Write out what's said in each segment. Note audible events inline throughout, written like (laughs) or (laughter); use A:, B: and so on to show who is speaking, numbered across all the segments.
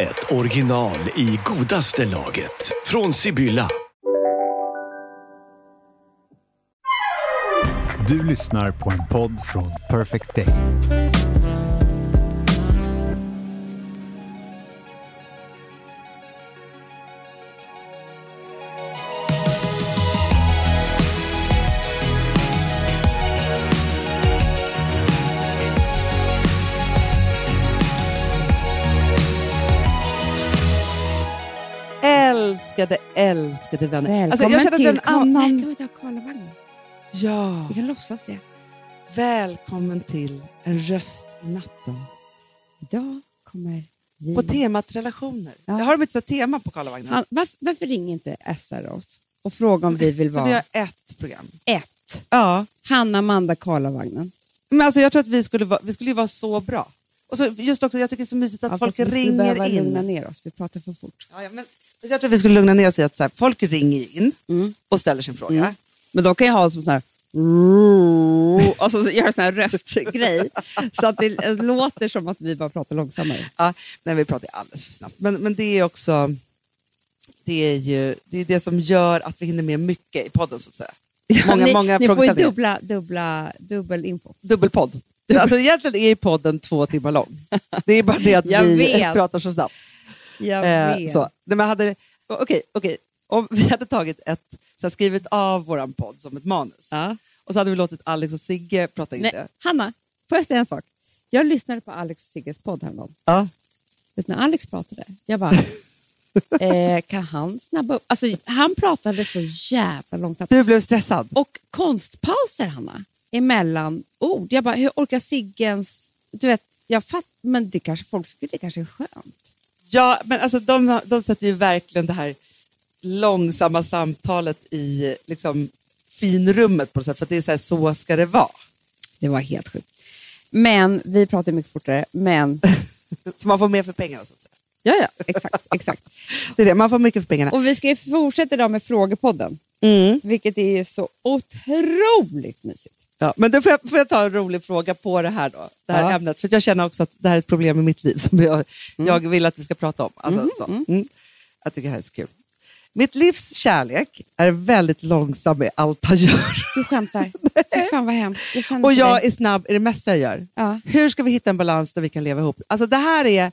A: ett original i godaste laget. Från Sibylla.
B: Du lyssnar på en podd från Perfect Day.
C: Älskade, älskade vänner.
D: Välkommen
C: Alltså, jag känner att vi har
D: till
C: en annan...
D: Kanan-
C: Kan vi ta Karlavagn? Ja.
D: Vi kan låtsas det.
C: Välkommen till En röst i natten.
D: Idag kommer vi...
C: På temat relationer.
D: Mm. Ja.
C: Jag har de inte så tema på Karlavagnen?
D: Han, varför, varför ringer inte SR oss och frågar om vi vill
C: För vi
D: vara
C: har ett program.
D: ett?
C: Ja.
D: Hanna, Amanda, Karlavagnen.
C: Men alltså, jag tror att vi skulle, vara, vi skulle ju vara så bra. Och så, just också, jag tycker det är så mysigt att
D: Ja,
C: folk
D: fast vi skulle behöva
C: ringer in.
D: lugna ner oss, vi pratar för fort.
C: Ja, ja, men, jag tror att vi skulle lugna ner oss i att så här, folk ringer in
D: Mm.
C: och ställer sin fråga.
D: Mm. Men då kan jag ha som sån här... Och så gör jag sån här röstgrej så att det låter som att vi bara pratar långsammare.
C: Ja, nej, vi pratar alldeles för snabbt. Men, men det är också det, är ju, det, är det som gör att vi hinner med mycket i podden. så att säga. Många,
D: ni,
C: många
D: ni får ju
C: frågeställningar.
D: dubbla, dubbla, dubbel info.
C: Dubbelpodd. Alltså, egentligen är ju podden två timmar
D: (laughs)
C: lång. Det är bara det att
D: Jag
C: vi
D: vet.
C: pratar så snabbt.
D: Jag
C: Eh,
D: vet.
C: så. Nej, men hade, okej, okej. Om vi hade tagit ett, så här, skrivit av vår podd som ett manus
D: Ja.
C: och så hade vi låtit Alex och Sigge prata in
D: Nej,
C: det.
D: Hanna, får jag säga en sak? Jag lyssnade på Alex och Sigges podd häromdagen.
C: Ja.
D: Vet du, när Alex pratade, jag bara, eh, kan han snabba upp? Alltså, han pratade så jävla långt.
C: Du blev stressad.
D: Och konstpauser, Hanna, emellan ord. Jag bara, hur orkar Siggens... Du vet, jag fatt, men det kanske folk skulle, det kanske är skönt.
C: Ja, men alltså de, de sätter ju verkligen det här långsamma samtalet i liksom, finrummet på något sätt, för att det är så här, så ska det vara. (laughs)
D: Det var helt sjukt. Men vi pratar mycket fortare, men...
C: Så man får mer för pengarna. Så att säga.
D: Ja, ja, exakt, exakt.
C: Det är det, man får mycket för pengarna.
D: Och vi ska ju fortsätta idag med frågepodden,
C: Mm.
D: vilket är ju så otroligt mysigt.
C: Ja, men då får jag, får jag ta en rolig fråga på det här då, det här
D: Ja. Mm.
C: ämnet, för att jag känner också att det här är ett problem i mitt liv som jag, jag vill att vi ska prata om. Alltså, så. Mm. Jag tycker det här är så kul. Mitt livs kärlek är väldigt långsam i allt han gör.
D: Du skämtar. Fy fan vad hemskt. Jag känner
C: Och
D: för
C: jag
D: dig.
C: är snabb i det mesta jag gör.
D: Ja.
C: Hur ska vi hitta en balans där vi kan leva ihop? Alltså det här är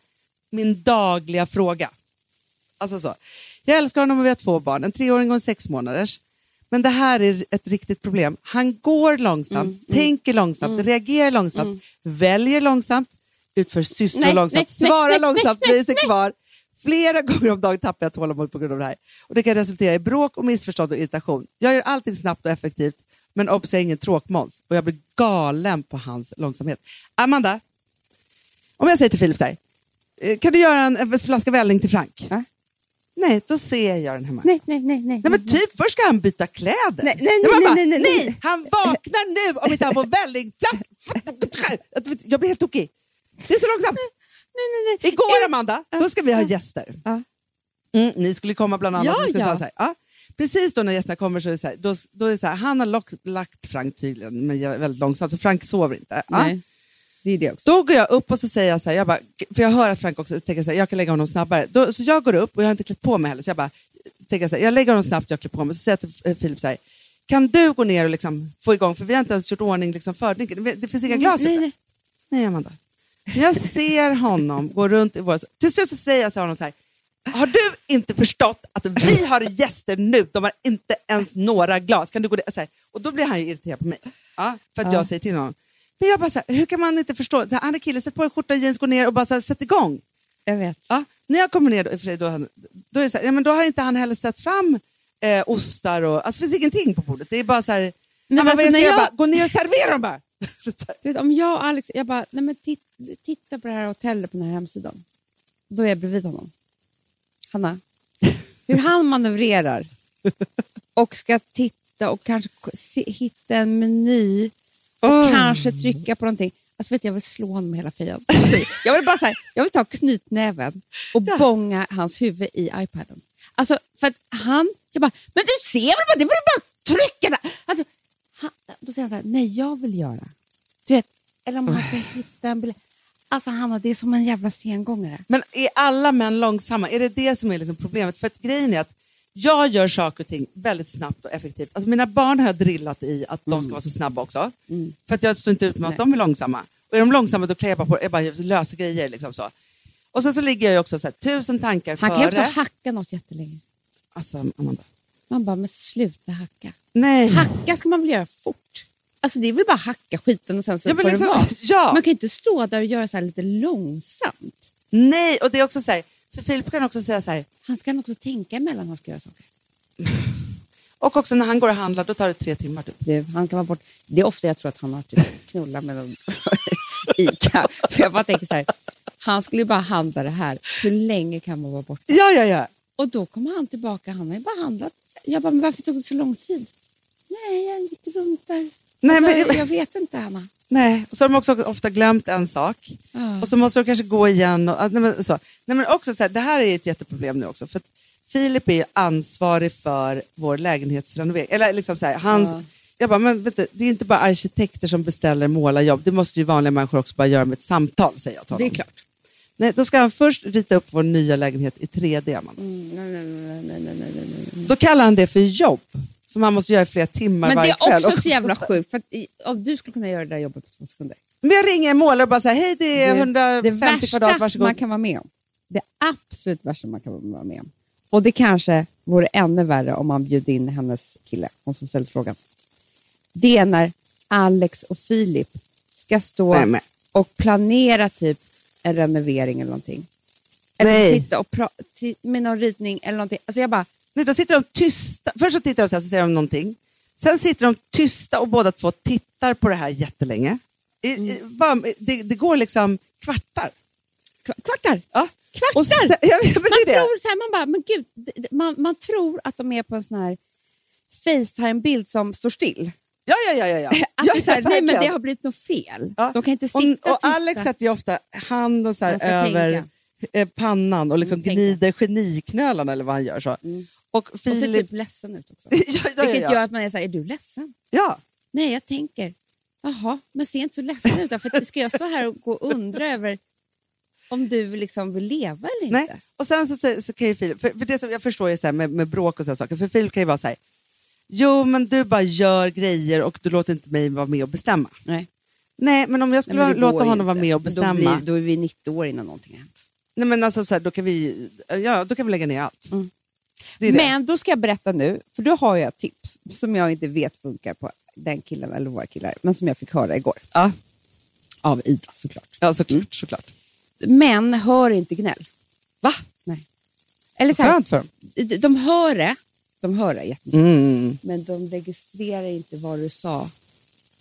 C: min dagliga fråga. Alltså så. Jag älskar honom och vi har två barn, en treåring och en sex månaders. Men det här är ett riktigt problem. Han går långsamt,
D: Mm,
C: tänker långsamt, reagerar långsamt, väljer långsamt, utför sysslor
D: Nej,
C: långsamt,
D: nej, nej,
C: svarar
D: nej,
C: långsamt, dröjer sig kvar. Flera gånger om dagen tappar jag tålamod på grund av det här. Och det kan resultera i bråk, och missförstånd och irritation. Jag gör allting snabbt och effektivt, men obs, jag är ingen tråkmåns. Och jag blir galen på hans långsamhet. Amanda, om jag säger till Filip så här, eh, kan du göra en, en flaska välling till Frank?
D: Ja.
C: Nej, då ser jag den hemma.
D: Nej, nej, nej. nej.
C: Nej men typ, först ska han byta kläder.
D: Nej, nej, nej,
C: Jag bara,
D: nej, nej, nej, nej.
C: Han vaknar nu om inte han
D: (laughs)
C: får vällingflask. Jag blir helt tokig. Det är så långsamt.
D: nej, nej.
C: Igår Amanda, då ska vi ha gäster.
D: Ja.
C: Mm, ni skulle komma bland annat.
D: Ja,
C: Vi skulle
D: ja.
C: säga Så här, ja. Precis då när gästerna kommer så är det så här, då, då är det så här han har lock, lagt Frank tydligen men jag är väldigt långsamt så Frank sover inte. Ja.
D: Nej. Det är det också.
C: Då går jag upp och så säger jag så här, jag bara, för jag hör att Frank också tänker så här, jag kan lägga honom snabbare. Då, så jag går upp och jag har inte klätt på mig heller, så jag bara, tänker så här, jag lägger honom snabbt, jag klär på mig. Så säger jag till eh, Filip så här, kan du gå ner och liksom få igång, för vi har inte ens gjort ordning liksom fördrinken, det, det finns inga glas
D: Mm, nej,
C: ute.
D: nej.
C: Nej, Amanda. Jag ser honom gå runt i våra... Till slut så säger jag till honom så här. Har du inte förstått att vi har gäster nu? De har inte ens några glas. Kan du gå ner?" så här. Och då blir han ju irriterad på mig. Ja, för att jag säger till honom. Men jag bara så här, hur kan man inte förstå? Så här, Han är kille, sätt på dig skjorta, jeans, gå ner och bara så här, sätt igång.
D: Jag vet.
C: Ja, när jag kommer ner, då, i och för sig, då, han, då, är det så här, ja, men då har inte han heller sett fram eh, ostar och... Alltså, det finns ingenting på bordet. Det är bara så här...
D: men
C: han bara,
D: alltså,
C: "Vad är det
D: när
C: jag ska
D: jag-
C: göra?" Jag bara, gå ner och servera dem bara. (laughs) Så här.
D: Du vet, om jag och Alex, jag bara, nej men titt, titta på det här hotellet på den här hemsidan. Då är jag bredvid honom. Hanna, hur han manövrerar och ska titta och kanske k- se, hitta en meny och kanske trycka på någonting. Alltså vet du, jag vill slå honom med hela fejan. Alltså, Jag vill bara så här, jag vill ta knytnäven och bånga hans huvud i iPaden. Alltså för att han, jag bara, men du ser väl bara, det var ju bara att trycka där. Alltså, han, då säger han så här, nej jag vill göra. Du vet, eller om han ska hitta en biljett. Alltså Hanna, det är som en jävla sengångare.
C: Men är alla män långsamma? Är det det som är liksom problemet? För att grejen är att jag gör saker och ting väldigt snabbt och effektivt. Alltså mina barn har jag drillat i att de ska vara så snabba också. För att jag står inte ut med att de är långsamma. Och är de långsamma då klär jag bara på jag bara löser grejer. Liksom så. Och sen så ligger jag ju också så här, tusen tankar
D: Han kan ju också
C: före.
D: hacka något jättelänge.
C: Alltså, Amanda.
D: Man bara, men sluta hacka.
C: Nej.
D: Hacka ska man väl göra fort? Alltså det är väl bara hacka skiten och sen så
C: Ja, men
D: får det
C: liksom-
D: vara.
C: (laughs) ja.
D: Man kan ju inte stå där och göra så här lite långsamt.
C: Nej, och det är också så här, för Filip kan också säga så här,
D: Han ska nog också tänka emellan han ska göra saker.
C: och också när han går och handlar då tar det tre timmar typ.
D: Du, han kan vara bort. Det är ofta jag tror att han har typ knullat med någon (laughs) Ica. För jag bara tänker så här, han skulle ju bara handla det här. Hur länge kan man vara borta?
C: Ja, ja, ja.
D: Och då kommer han tillbaka, han har ju bara handlat. Jag bara, men varför tog det så lång tid? Nej, jag gick runt där.
C: Nej,
D: alltså,
C: men-
D: jag vet inte, Anna.
C: Nej, och så har de också ofta glömt en sak.
D: Ja.
C: Och så måste de kanske gå igen. Och, ah, nej, men, så. Nej, men också så här, det här är ett jätteproblem nu också. För att Filip är ju ansvarig för vår lägenhetsrenovering. Eller liksom så här, hans,
D: Ja.
C: Jag bara, men vet du, det är inte bara arkitekter som beställer målarjobb. Det måste ju vanliga människor också bara göra med ett samtal, säger jag till
D: Det är
C: honom.
D: klart.
C: Nej, då ska han först rita upp vår nya lägenhet i 3D. Man.
D: Mm, Nej, nej, nej, nej, nej, nej, nej, nej.
C: Då kallar han det för jobb, som han måste göra i flera timmar
D: Men det
C: varje kväll.
D: är också
C: Och-
D: så jävla sjukt, för att i- om du skulle kunna göra det där jobbet på två sekunder.
C: Men jag ringer en målare och bara säger hej det är
D: Det-
C: 150
D: det
C: kvadrat,
D: värsta
C: varsågod.
D: man kan vara med om. Det absolut värsta man kan vara med om. Och det kanske vore ännu värre om man bjöd in hennes kille, hon som ställde frågan. Det är när Alex och Filip ska stå
C: Nej, men-
D: och planera typ en renovering eller någonting. Eller
C: Nej.
D: sitta och pra- ti- med någon ritning eller någonting. Alltså jag bara,
C: Nej, då sitter de tysta. Först så tittar de så här, så säger de någonting. Sen sitter de tysta och båda två tittar på det här jättelänge. I, i,
D: Mm.
C: bara, det, det går liksom kvartar.
D: kva- kvartar!
C: Ja.
D: Kvartar!
C: Och sen, (laughs) ja, men det
D: Man
C: är det.
D: tror så här, man bara, men gud, d- d- man, man tror att de är på en sån här Facetime-bild som står still.
C: Ja, ja, ja.
D: (laughs)
C: ja, ja.
D: Att
C: ja,
D: det, är Alltså, så här, nej, men
C: verkligen.
D: det har blivit något fel.
C: Ja.
D: De kan inte
C: och,
D: sitta
C: och Alex
D: tysta.
C: sätter ju ofta handen så här
D: Han ska
C: över
D: tänka.
C: eh, pannan och liksom
D: Mm, tänka.
C: gnider geniknölarna eller vad han gör. så. Och
D: Och ser
C: Filip...
D: typ ledsen ut också.
C: (laughs) Ja, ja, ja,
D: Vilket
C: ja.
D: gör att man är så här, är du ledsen?
C: ja.
D: Nej, jag tänker, jaha, men ser inte så ledsen ut. då, För att, ska jag stå här och gå och undra över om du liksom vill leva eller inte?
C: Nej. Och sen så, så, så kan ju Filip, för, för det som jag förstår ju så här med, med bråk och sådana saker, för Filip kan ju vara så här, jo men du bara gör grejer och du låter inte mig vara med och bestämma.
D: Nej.
C: Nej, men om jag skulle
D: Nej, men det går
C: låta
D: ju
C: honom vara
D: inte.
C: med och
D: Men
C: bestämma,
D: Då, blir, då är vi 90 år innan någonting har hänt.
C: Nej, men alltså, så här, då, kan vi, ja, då kan vi lägga ner allt.
D: Mm.
C: Det är det.
D: Men då ska jag berätta nu, för då har jag ett tips som jag inte vet funkar på den killen eller våra killar, men som jag fick höra igår.
C: Ja.
D: Av Ida såklart.
C: Ja, såklart. såklart.
D: Män hör inte gnäll. Va? Nej. Eller så här,
C: Skönt för dem.
D: de- de hör det, de hör det jättemycket,
C: Mm.
D: men de registrerar inte vad du sa.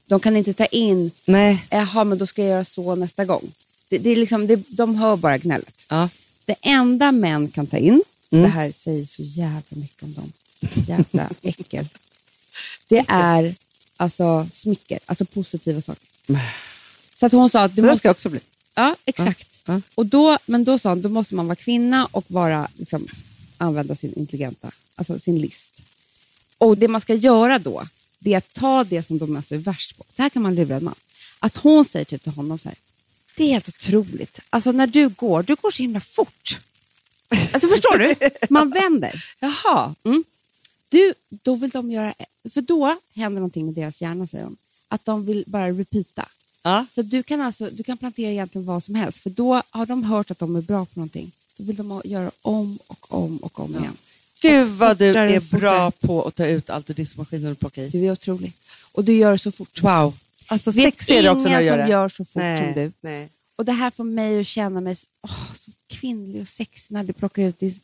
D: De kan inte ta in,
C: Nej.
D: jaha men då ska jag göra så nästa gång. Det, det är liksom, det, de hör bara gnället.
C: Ja. Mm.
D: Det enda män kan ta in, det här säger så jävla mycket om dem,
C: (laughs)
D: jävla äckel. Det är alltså smicker, alltså positiva saker. Så att hon sa att du
C: Det där ska
D: måste...
C: jag också bli.
D: Ja, exakt.
C: Ja, ja.
D: Och då, men då sa hon, då måste man vara kvinna och bara liksom, använda sin intelligenta, alltså sin list. Och det man ska göra då, det är att ta det som de är så värst på. Det här kan man lura en man. Att hon säger typ till honom så här, det är helt otroligt. Alltså när du går, du går så himla fort. Alltså förstår du? Man (laughs) vänder.
C: (laughs) Jaha.
D: Du, då vill de göra, för då händer någonting med deras hjärna säger de. Att de vill bara repeata.
C: Ja.
D: Så du kan, alltså, du kan plantera egentligen vad som helst, för då har de hört att de är bra på någonting. Då vill de ha- göra om och om och om igen.
C: Gud vad du
D: Fortare och
C: är bra
D: fortare.
C: på att ta ut allt ur diskmaskinen och plocka i.
D: Du är otrolig. Och du gör det så fort.
C: Wow. Alltså
D: Vet
C: sex är det också när du gör
D: ingen som
C: det.
D: gör så fort
C: Nej.
D: som du.
C: Nej.
D: Och det här får mig att känna mig så- åh, så kvinnlig och sexig när du plockar ut det.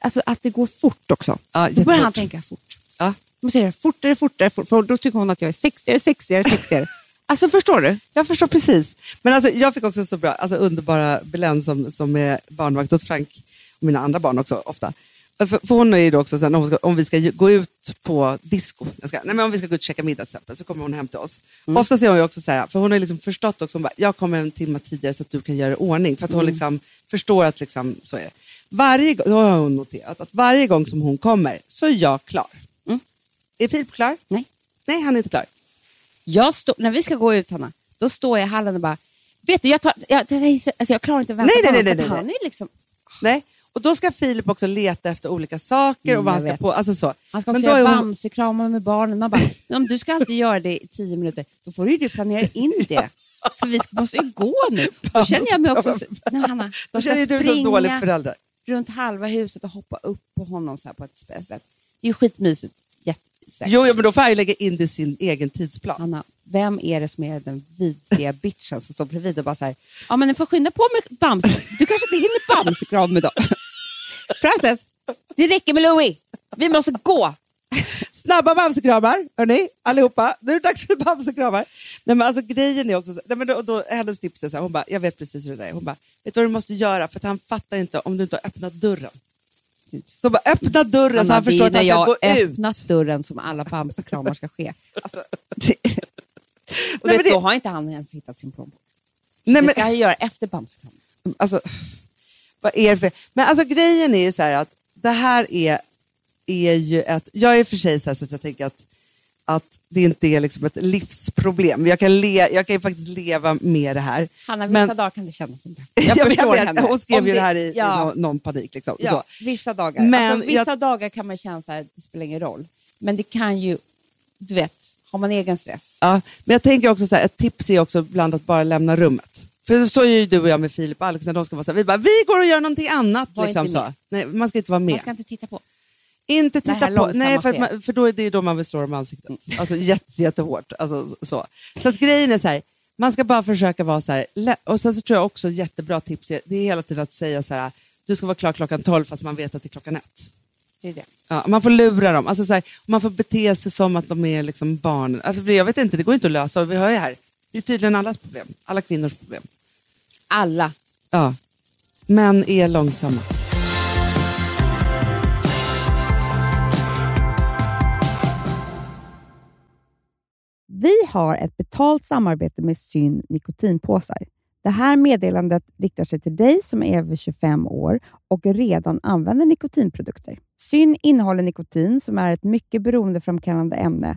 D: Alltså att det går fort också.
C: Ja,
D: då börjar han
C: jättefort.
D: tänka fort.
C: Ja.
D: Jag måste göra fortare, fortare, fortare, för då tycker hon att jag är sexigare, sexigare, sexigare.
C: (laughs)
D: alltså förstår du?
C: Jag förstår precis. Men alltså, jag fick också så bra, alltså underbara Belen som, som är barnvakt åt Frank. och mina andra barn också ofta. För, för hon är ju då också sen, om, vi ska, om vi ska ju- gå ut på disco, jag ska, nej men om vi ska gå ut och käka middag till exempel, så kommer hon hem till oss.
D: Mm.
C: Oftast är hon ju också så här, för hon har liksom förstått också, hon bara, jag kommer en timme tidigare så att du kan göra i ordning. För att
D: Mm.
C: hon liksom förstår att liksom, så är det. Varje, gång- då har hon noterat att varje gång som hon kommer så är jag klar. Är Filip klar?
D: Mm. Nej.
C: Nej, han är inte klar.
D: Jag stå, när vi ska gå ut, Hanna, då står jag i hallen och bara, vet du, jag, tar, jag, jag, jag, alltså, jag klarar inte att vänta
C: Nej, nej,
D: på honom,
C: nej,
D: för
C: nej,
D: att han
C: nej.
D: är liksom
C: Nej. Och då ska Filip också leta efter olika saker och
D: Mm,
C: vad han
D: jag
C: ska
D: vet.
C: på. Alltså så.
D: Han ska
C: Men
D: också
C: då är
D: göra
C: hon-
D: Bamsekramar med barnen. Man bara, "Men om du ska alltid göra det i tio minuter, då får du ju planera in det. För vi ska- måste ju gå nu. Då känner jag mig också... så- Nej, Hanna,
C: Då
D: de
C: känner
D: ska
C: ju du som dålig
D: springa
C: förälder.
D: runt halva huset och hoppa upp på honom så här på ett speciellt sätt. Det är ju skitmysigt. Jättesäkert.
C: Jo, jo, men då får han ju lägga in det i sin egen tidsplan.
D: Hanna, vem är det som är den vidriga bitchen som står bredvid och bara så här, ja men ni får skynda på med bams. Du kanske inte hinner bamsekram med dem. (laughs) Frances, det räcker med Louis. Vi måste gå.
C: Snabba bamsekramar, hörni, allihopa. Nu är det dags för bamsekramar. Nej, men alltså, grejen är också, så- nej, men då, då, hennes tips är så här, hon bara, jag vet precis hur det där är. Hon bara, vet du vad du måste göra? För att han fattar inte om du inte har öppnat dörren. Så hon bara, öppna dörren så Alltså, han
D: det är
C: förstår att
D: när
C: han ska
D: jag
C: gå ut.
D: öppnat dörren som alla bamsekramar ska ske. (laughs) Alltså, det, och
C: men
D: vet,
C: det-
D: Då har inte han ens hittat sin plånbok.
C: Nej,
D: det
C: men,
D: ska han göra efter bamsekramen.
C: alltså, vad är det för... Men alltså grejen är ju så här att det här är, är ju ett... Jag är för sig så, här så att jag tänker att, att det inte är liksom ett livsproblem. Jag kan, le, jag kan ju faktiskt leva med det här.
D: Hanna,
C: (laughs)
D: vissa
C: Men-
D: dagar kan det kännas som det.
C: Ja,
D: Jag
C: men
D: förstår
C: vet,
D: henne.
C: Hon skrev
D: Om
C: ju det här i, i
D: ja,
C: någon, någon panik. Liksom,
D: ja,
C: så.
D: vissa dagar.
C: Men
D: alltså, vissa
C: jag-
D: dagar kan man känna så här, det spelar ingen roll. Men det kan ju, du vet, har man egen stress.
C: Ja, men jag tänker också så här, ett tips är också ibland att bara lämna rummet. För så är ju du och jag med Filip och Alex, när de ska vara så här, vi bara, vi går och gör någonting annat.
D: Var
C: Liksom,
D: inte
C: så.
D: med.
C: Nej, man ska inte vara med.
D: Man ska inte titta på.
C: Inte
D: Det
C: titta
D: här
C: på,
D: långsamma
C: nej för, att
D: sker.
C: man, för då är det ju då man vill slå dem i ansiktet. Alltså jätte, jättehårt. Alltså, så. så att grejen är så här, man ska bara försöka vara så här, lä- och sen så tror jag också jättebra tips, är- det är hela tiden att säga så här, du ska vara klar klockan 12 fast man vet att det är klockan ett.
D: Det är det.
C: Ja, man får lura dem, alltså så här, man får bete sig som att de är liksom barn. Alltså, för jag vet inte, det går inte att lösa, Och vi hör ju här, det är tydligen allas problem, alla kvinnors problem.
D: Alla.
C: Ja. Män är långsamma.
D: Vi har ett betalt samarbete med Syn nikotinpåsar. Det här meddelandet riktar sig till dig som är över 25 år och redan använder nikotinprodukter. Syn innehåller nikotin som är ett mycket beroendeframkallande ämne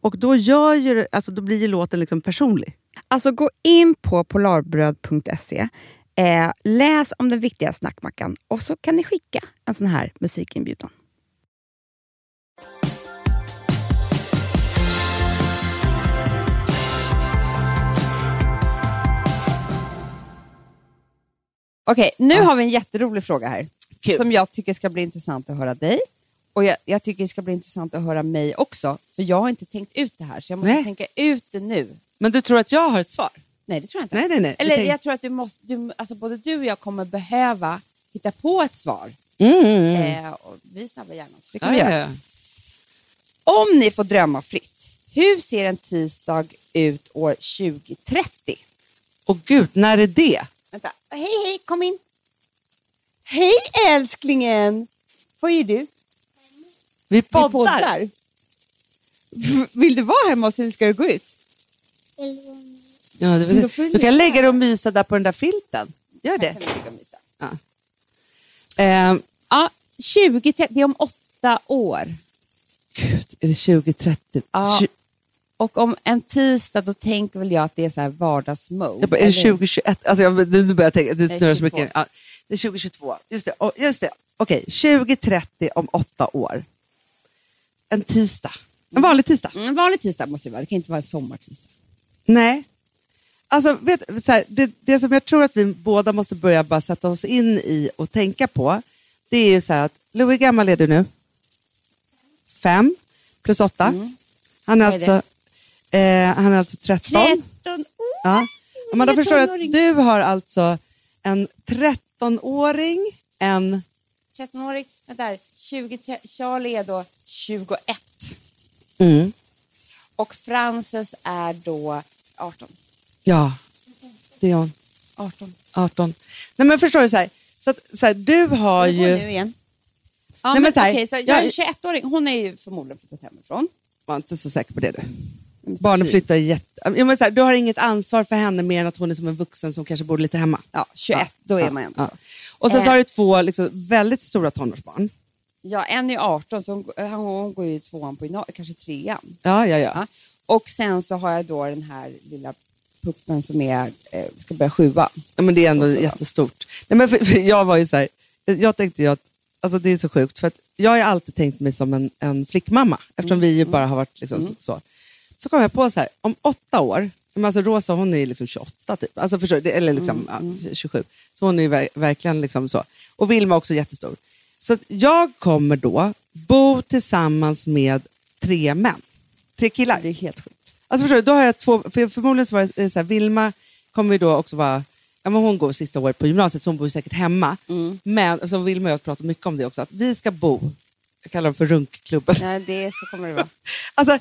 C: Och då, gör ju, det- alltså, då blir ju låten liksom personlig.
D: Alltså gå in på polarbröd.se, eh, läs om den viktiga snackmackan och så kan ni skicka en sån här musikinbjudan. Okej, nu har vi en jätterolig fråga här. Som jag tycker ska bli intressant att höra dig. Och jag, jag tycker det ska bli intressant att höra mig också. För jag har inte tänkt ut det här, så jag måste
C: Nej.
D: tänka ut det nu.
C: Men du tror att jag har ett svar?
D: Nej, det tror jag inte.
C: Nej, nej, nej.
D: Eller
C: Du tänk-
D: jag tror att du måste, du, alltså både du och jag kommer behöva hitta på ett svar.
C: Mm.
D: Eh, och vi snabbar hjärnan, så det kan vi göra. Om ni får drömma fritt, hur ser en tisdag ut år 2030?
C: Och gud, när är det?
D: Vänta, hej hej, kom in. Hej älsklingen! Vad gör du?
C: Vi
D: Vi poddar. V- Vill du vara hemma hos eller ska du gå ut?
C: Ja, du,
D: Då får du
C: du kan lägga dig och mysa där på den där filten. Gör det. Ehm,
D: Ja, 2030, det är om åtta år.
C: gud, är det 2030?
D: Ja.
C: Tju-
D: Och om en tisdag, då tänker väl jag att det är så här vardagsmode.
C: Jag bara, är det
D: eller?
C: 2021? Alltså jag, nu börjar jag tänka, det snurrar så
D: 22.
C: mycket. Ja, det är 2022. Just det. och- Just det. Okej, 2030 om åtta år. En tisdag. En vanlig tisdag.
D: Mm, En vanlig tisdag måste det vara, det kan inte vara en sommartisdag.
C: Nej. Alltså, vet, så här, det, det som jag tror att vi båda måste börja bara sätta oss in i och tänka på, det är ju så här att Louis, hur gammal är du nu? Fem plus åtta. Han, är
D: Mm. Vad är det?
C: alltså, eh, han är alltså 13.
D: 13 år!
C: Ja. Men då
D: Lilla
C: förstår du att
D: tonåring.
C: du har alltså en 13-åring, en...
D: 13-årig, vänta här, 20, Charlie är då 21 Mm, och Frances är då 18.
C: Ja, det är hon.
D: 18.
C: 18. Nej men förstår du så här, så att, så här du har
D: Hon går
C: ju...
D: nu igen. Ja,
C: Nej,
D: men,
C: men så här,
D: okej, så jag är en
C: jag-
D: 21-åring, hon är ju förmodligen flyttat hemifrån.
C: Var inte så säker på det du.
D: Men
C: Barnen
D: typ.
C: flyttar jätte... Ja, men så här, du har inget ansvar för henne mer än att hon är som en vuxen som kanske bor lite hemma.
D: Ja, 21, då är man ju ändå så.
C: Och sen så
D: Eh.
C: har du två liksom, väldigt stora tonårsbarn.
D: Ja, en är 18, så hon, g- hon, hon går ju i tvåan på gymnasiet, kanske trean.
C: Ja, ja, ja.
D: Ja. Och sen så har jag då den här lilla puppen som är, eh, ska börja sjuan.
C: Ja, men det är ändå jättestort. Nej, men för, för jag var ju så här, jag tänkte ju att, alltså det är så sjukt, för att jag har ju alltid tänkt mig som en, en flickmamma, eftersom vi ju bara har varit liksom så. Så kom jag på så här, om åtta år, men alltså Rosa hon är ju liksom 28 typ, alltså förstår, du? Det- eller liksom ja, 27, så hon är ju ver- verkligen liksom så. Och Vilma också jättestor. Så att jag kommer då bo tillsammans med tre män, tre killar.
D: Det är helt sjukt.
C: eh, Alltså förstår du, då har jag två, för förmodligen så var det så här, Vilma kommer ju då också vara, ja, ja, men hon går sista året på gymnasiet så hon bor ju säkert hemma.
D: Mm.
C: Men, alltså, Vilma och jag pratar mycket om det också, att vi ska bo, jag kallar dem för runkklubben.
D: Nej, det är, så kommer det vara.
C: (laughs) Alltså,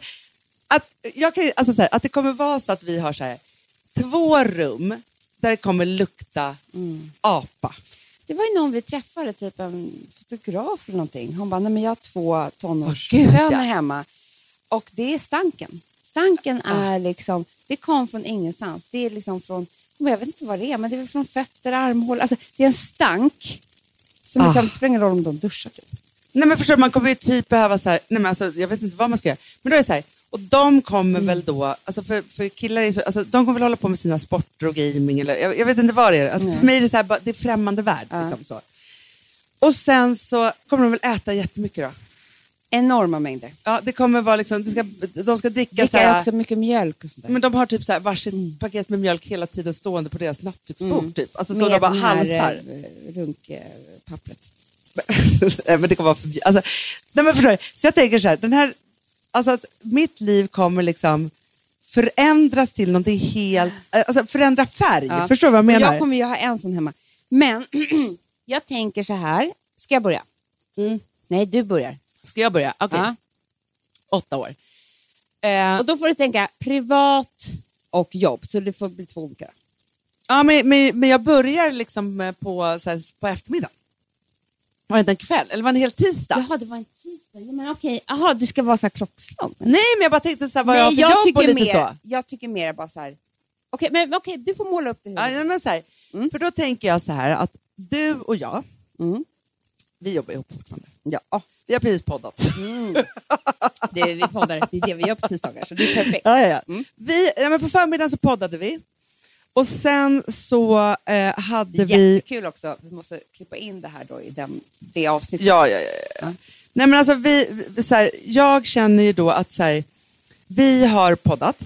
C: att, jag kan, ju- alltså så här, att det kommer vara så att vi har så här, två rum där det kommer lukta
D: Mm.
C: apa.
D: Det var ju någon vi träffade, typ en fotograf eller någonting. Hon bara, nej men jag har två
C: Åh, gud,
D: tonårssöner
C: ja.
D: hemma. Och det är stanken. Stanken är liksom, det kom från ingenstans. Det är liksom från, hon bara, jag vet inte vad det är, men det är väl från fötter, armhålor. Alltså det är en stank som
C: Ah.
D: liksom, det spelar ingen roll om de duschar typ.
C: Nej men förstår du, man kommer ju typ behöva så här, nej men alltså, jag vet inte vad man ska göra. Men då är det så här, och de kommer väl då, alltså för, för killar är så, alltså, de kommer väl hålla på med sina sporter och gaming eller jag, jag vet inte vad det är. Alltså, för mig är det så här, bara- det är främmande värld. Liksom, så. Och sen så kommer de väl äta jättemycket då.
D: Enorma mängder.
C: Ja, det kommer vara liksom, det ska, de ska dricka så
D: Dricker
C: här,
D: också mycket Mm. mjölk och sånt där.
C: men de har typ så här varsitt paket med mjölk hela tiden stående på deras nattduksbord typ. Alltså så
D: Mm. Med
C: de bara
D: den här,
C: halsar.
D: eh, Runkpappret.
C: (laughs) Nej, men det kommer vara förbjudet. Alltså, nej, men förstår du? Så jag tänker så här, den här, alltså att mitt liv kommer liksom förändras till någonting helt, eh, alltså förändra färg.
D: Ja.
C: Förstår du vad jag menar?
D: Jag kommer ju ha en sån hemma. Men (clears throat) jag tänker så här. Ska jag börja?
C: Mm.
D: Nej, du börjar.
C: Ska jag börja? Okej.
D: Ja.
C: Åtta år. Eh,
D: Och då får du tänka privat och jobb. Så det får bli två olika.
C: ja, men, men, men jag börjar liksom eh, på, så här, på eftermiddagen. Var det inte en kväll? Eller var det en hel tisdag?
D: Jaha, det var en tisdag. Ja, men okej. Jaha, du ska vara så här klockslag.
C: Nej, men jag bara tänkte så här, vad jag har för jobb och
D: tycker
C: lite
D: mer,
C: så.
D: Jag tycker mer bara så här. Okej, men okej, du får måla upp det.
C: Ja,
D: Ja,
C: ja, men så här. För då tänker jag så här att du och jag, Mm. vi jobbar ihop fortfarande. Ja. Mm. Vi har precis poddat.
D: du, vi poddar. Det är det vi gör på tisdagar, så det är perfekt.
C: Ja, ja, ja. Vi, ja, men på förmiddagen så poddade vi. Och sen så eh, hade vi...
D: Jättekul också. Vi måste klippa in det här då i den, det avsnittet.
C: Ja, ja, ja, ja. Nej, men alltså vi, vi, så här, jag känner ju då att så här, vi har poddat.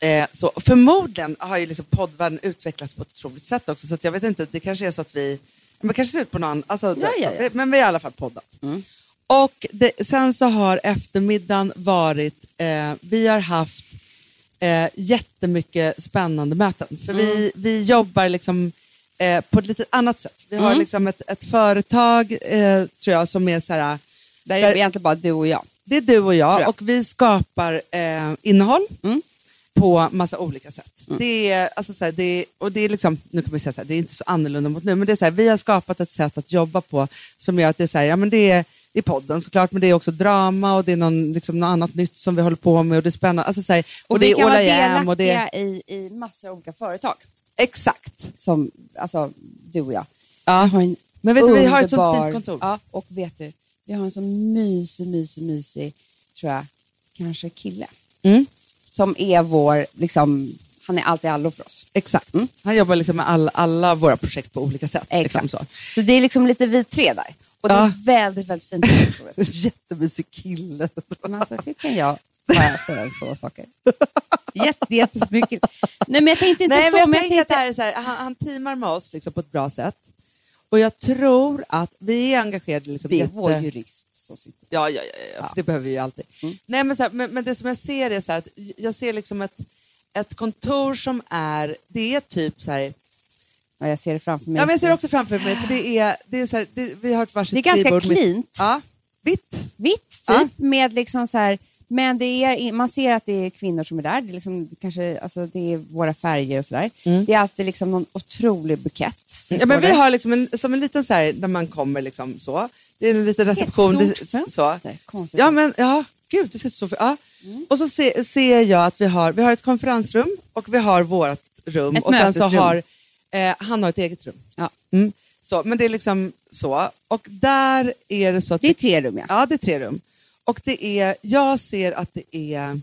C: Eh, så förmodligen har ju liksom poddvärlden utvecklats på ett otroligt sätt också. Så att jag vet inte, det kanske är så att vi... Men kanske ser ut på någon annan... Alltså,
D: Ja, ja, ja.
C: Men vi har i alla fall poddat.
D: Mm.
C: Och det, sen så har eftermiddagen varit... Eh, vi har haft eh, jättemycket spännande möten. För
D: Mm.
C: vi, vi jobbar liksom eh, på ett lite annat sätt. Vi har
D: Mm.
C: liksom ett, ett företag, eh, tror jag, som är så här...
D: Där är
C: Där-
D: det egentligen bara du och jag.
C: Det är du och jag,
D: Tror jag. Mm.
C: och vi skapar eh, innehåll på massa olika sätt. Det är, alltså, så här, det är, och det är liksom, nu kan man säga så här, det är inte så annorlunda mot nu, men det är så här, vi har skapat ett sätt att jobba på som gör att det är så här, ja men det är, det är podden såklart, men det är också drama och det är någon, liksom, något annat nytt som vi håller på med och det är spännande. Alltså, så här, och,
D: Och,
C: det
D: vi
C: är
D: kan
C: All
D: vara
C: I am och det
D: delaktiga
C: är...
D: i, i massor av olika företag.
C: Exakt.
D: Som alltså, du och jag.
C: Ja.
D: Har en
C: Men vet du, vi har ett sånt
D: underbar-
C: fint kontor.
D: Ja, och vet du, vi har en sån mysig, mysig, mysig, tror jag, kanske kille.
C: Mm.
D: Som är vår, liksom, han är allt i allo för oss.
C: Exakt. Han jobbar liksom med all, alla våra projekt på olika sätt. Liksom så. (laughs)
D: Så det är liksom lite vi tre där. Och det
C: Ja.
D: är väldigt,
C: (laughs)
D: väldigt fint. kontor.
C: Jättemysig kille.
D: Men alltså, hur kan jag bara säga så saker? Jätte, jättesnygg kille. Nej, men jag tänkte inte
C: Nej,
D: så,
C: men jag,
D: men jag
C: tänker att det
D: tänkte...
C: här är så här, han, han teamar med oss liksom på ett bra sätt. Och jag tror att vi är engagerade. Liksom
D: Det är
C: jätte-
D: vår jurist som sitter Mm.
C: Ja, ja, ja, ja, för det behöver vi ju alltid. Nej, men, så här, men, men det som jag ser är så här, att jag ser liksom ett, ett kontor som är, det är typ så här,
D: Ja, jag ser det framför mig.
C: ja, men jag ser det också framför mig, för det är, det är så här, det, vi har ett varsitt
D: Det är ganska
C: skrivbord mitt-
D: cleant.
C: Ja, vitt.
D: Vitt, typ. Med liksom så här, men det är, man ser att det är kvinnor som är där. Det är, liksom, kanske, alltså, det är våra färger och sådär. Det är alltid liksom någon otrolig bukett. som
C: Ja, men
D: står
C: vi
D: där.
C: har liksom en, som en liten så här, när man kommer liksom så. Det är en liten reception.
D: Det är ett
C: det,
D: stort
C: så.
D: fönster, konstigt. Mm.
C: Ja, men ja, gud, det ser så för, ja. Och så se, ser jag att vi har, vi har ett konferensrum och vi har vårt rum.
D: Ett
C: och sen så
D: mötesrum.
C: har, eh, han har ett eget rum.
D: Ja.
C: Mm. Så, men det är liksom så. Och där är det så att...
D: Det är tre rum, ja.
C: Ja, det är tre rum. Och det är, jag ser att det är...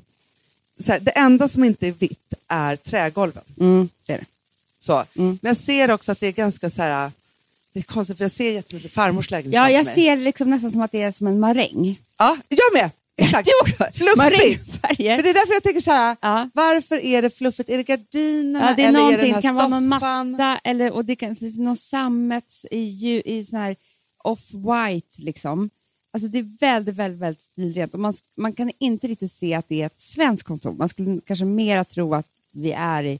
C: Så här, det enda som inte är vitt är trägolven.
D: Mm, det är det.
C: Så.
D: Mm.
C: Men jag ser också att det är ganska så här... Det är konstigt för jag ser jättemycket farmors lägenhet
D: Ja,
C: framför
D: jag
C: mig.
D: ser det liksom nästan som att det är som en maräng.
C: Ja, jag med! Exakt.
D: (laughs) Du också.
C: Fluffigt!
D: Marängfärger.
C: För det är därför jag tänker så här,
D: Ja.
C: varför är det fluffigt? Är det gardinerna
D: Ja, det är
C: eller är det
D: någonting,
C: den
D: det
C: här
D: kan vara någon
C: soffan?
D: matta eller, och det kan det är någon sammet i, ju- i sån här off-white liksom. Alltså det är väldigt, väldigt, väldigt stilrent och man, man kan inte riktigt se att det är ett svenskt kontor. Man skulle kanske mera tro att vi är i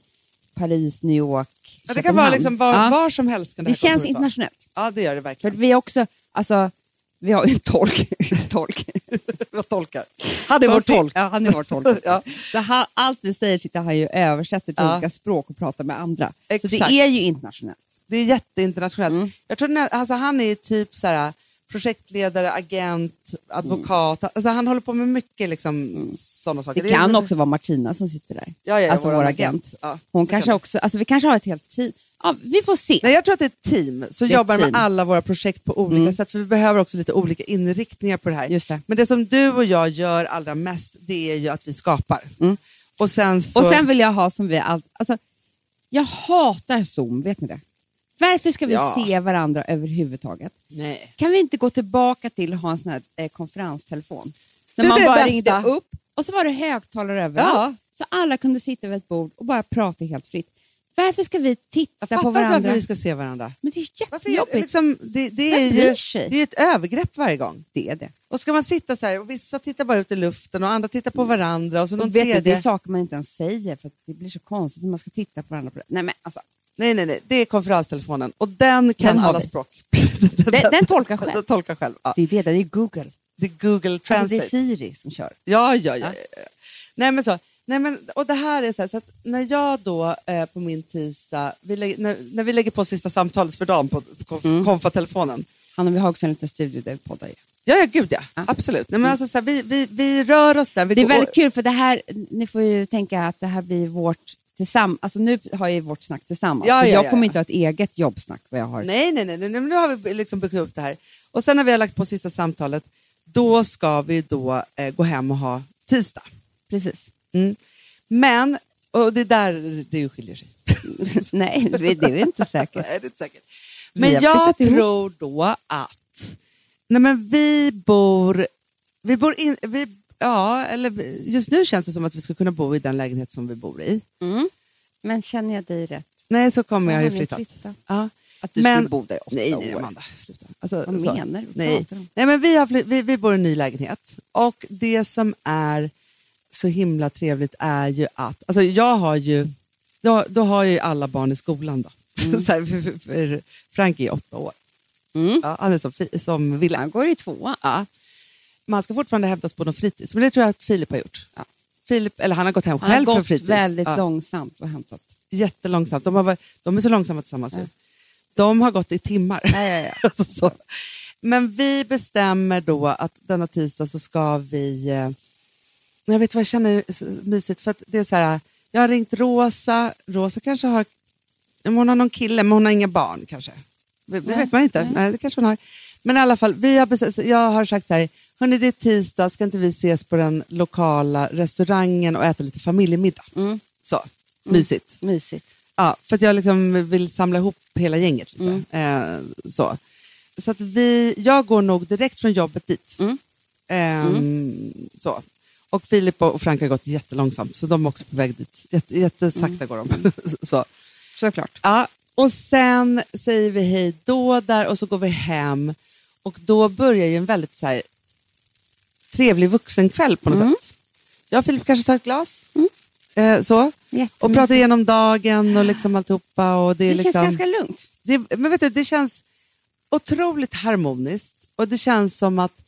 D: Paris, New York,
C: Ja, det kan
E: Köpenhamn.
C: vara liksom var,
D: Ja.
C: var som helst. kan
D: Det
C: här
D: känns
C: kontoret vara.
D: internationellt.
C: Ja, det gör det
D: För
C: verkligen.
D: vi har också, alltså, vi har ju en tolk. (laughs) tolk.
C: Vad tolkar?
D: Han är
C: vår
D: vår
C: tolk.
D: tolk. (laughs) Ja, han är vår tolk.
C: Ja.
D: Så han, allt vi säger sitter han ju och översätter till
C: Ja.
D: olika språk och pratar med andra. Så
C: Exakt.
D: det är ju internationellt.
C: Det är jätteinternationellt.
D: Mm.
C: Jag tror nä- alltså, han är typ så här, projektledare, agent, advokat. Alltså, han håller på med mycket liksom, sådana saker.
D: Mm. Det kan
C: är-
D: också vara Martina som sitter där.
C: Ja, ja, ja,
D: alltså
C: vår
D: vår
C: agent.
D: agent.
C: Ja,
D: Hon
C: så
D: kanske
C: kan det.
D: också, alltså vi kanske har ett helt team. Ja, vi får se.
C: Nej, jag tror att det är ett team som
D: Det är ett
C: jobbar
D: team. Mm.
C: med alla våra projekt på olika sätt. För vi behöver också lite olika inriktningar på det här.
D: Just det.
C: Men det som du och jag gör allra mest, det är ju att vi skapar. Och sen så...
D: Mm. Och sen vill jag ha som vi allt, alltså, jag hatar Zoom, vet ni det? Varför ska vi
C: Ja.
D: se varandra överhuvudtaget?
C: Nej.
D: Kan vi inte gå tillbaka till att ha en sån här eh, konferenstelefon? När
C: Du, det
D: man
C: är det
D: bara
C: bästa.
D: ringde upp och så var det högtalare överallt.
C: Ja.
D: Så alla kunde sitta vid ett bord och bara prata helt fritt. Varför ska vi titta
C: Jag
D: på
C: fattar inte varför
D: varandra?
C: vi ska se varandra.
D: Men det är ju
C: Varför är,
D: jättejobbigt.
C: det liksom, det, det
D: Vem
C: är ju
D: bryr sig?
C: det är ett övergrepp varje gång.
D: Det är det.
C: Och ska man sitta så här, och vissa tittar bara ut i luften och andra tittar på varandra och så någon
D: Mm. Och vet du, det är
C: tredje.
D: saker man inte ens säger för att det blir så konstigt när man ska titta på varandra. På det. Nej, men alltså,
C: Nej, nej, nej, det är konferenstelefonen och den kan
D: Den har
C: alla
D: vi. (laughs)
C: språk.
D: den, den tolkar själv.
C: Den tolkar själv. Ja.
D: Det är det, det är Google.
C: Det är Google
D: Alltså,
C: Translate.
D: det är Siri som kör.
C: Ja, ja, ja. ja. Nej, men så. Nej, men, och det här är så här, så att när jag då eh, på min tisdag, vi lägger, när, när vi lägger på sista samtalet för dagen på konf,
D: Mm.
C: konfatelefonen.
D: Hanna, vi har också en liten studio där vi poddar. ju.
C: Ja, ja, gud ja.
D: Ja. Mm.
C: Absolut. Nej, men alltså, så här, vi, vi, vi rör oss där. Vi
D: Det är
C: går-
D: väldigt kul för det här, ni får ju tänka att det här blir vårt tillsammans. Alltså nu har jag ju vårt snack tillsammans.
C: Ja,
D: för
C: ja,
D: jag
C: ja,
D: kommer
C: ja.
D: inte ha ett eget jobbsnack vad jag har.
C: Nej, nej, nej, nej, nej, men nu har vi liksom byggt upp det här. Och sen när vi har lagt på sista samtalet, då ska vi då eh, gå hem och ha tisdag.
D: Precis.
C: Mm. Men, och det är där det ju skiljer
D: (laughs)
C: sig.
D: Nej, det det är inte säkert.
C: Nej, det är inte säkert.
D: Vi
C: Men
D: har
C: jag
D: flyttat ihop.
C: tror då att, nej men vi bor, vi bor in, vi, ja, eller vi- just nu känns det som att vi ska kunna bo i den lägenhet som vi bor i.
D: (laughs) Men känner jag dig rätt?
C: Nej, så kommer
D: Så
C: jag ju
D: har ni
C: flyttat.
D: flyttat.
C: Ja.
D: Att du
C: Men-
D: skulle bo där i åtta
C: Nej, nej,
D: år?
C: Amanda, sluta. Alltså,
D: Vad
C: så-
D: menar du? Vad
C: Nej.
D: pratar du om?
C: Nej, men vi, har fly- vi, vi bor i en ny lägenhet och det som är så himla trevligt är ju att, alltså jag har ju, då, då har jag ju alla barn i skolan då. (laughs) så här, för, för, för Frank är åtta år.
D: Mm.
C: Ja, han är som, fi- som Wilhelm.
D: Han går i tvåan.
C: Ja. Man ska fortfarande hämtas på någon fritids, men det tror jag att Filip har gjort. Filip, eller han har gått hem
D: Han
C: själv
D: har
C: från
D: gått
C: fritids.
D: väldigt
C: Ja
D: långsamt och hämtat.
C: jättelångsamt. De, har varit, de är så långsamma tillsammans ju. De har gått i timmar. (laughs) alltså så. Men vi bestämmer då att denna tisdag så ska vi... eh, Jag vet vad jag känner är så mysigt. För att det är så här, jag har ringt Rosa. Rosa kanske har... men Hon har någon kille, men hon har inga barn kanske. Det det vet man inte. Nej. det kanske hon har. Men i alla fall, vi har bestämt, så jag har sagt så här, hörni det är tisdag, ska inte vi ses på den lokala restaurangen och äta lite familjemiddag? Så, mysigt.
D: Mysigt.
C: Ja, för att jag liksom vill samla ihop hela gänget lite. Eh, så så att vi, jag går nog direkt från jobbet dit. Ehm, Så. Och Filip och Frank har gått jättelångsamt, så de är också på väg dit. Jätte, jättesakta går de. (laughs) så.
D: Såklart.
C: Ja, och sen säger vi hej då där och så går vi hem. Och då börjar ju en väldigt så här, trevlig vuxenkväll på något sätt. Jag och Filip kanske tar ett glas. Eh, så. Och
D: Jättemysigt.
C: pratar igenom dagen och liksom alltihopa. Och det, är
D: Det
C: liksom,
D: känns ganska lugnt.
C: det, men vet du, det känns otroligt harmoniskt och det känns som att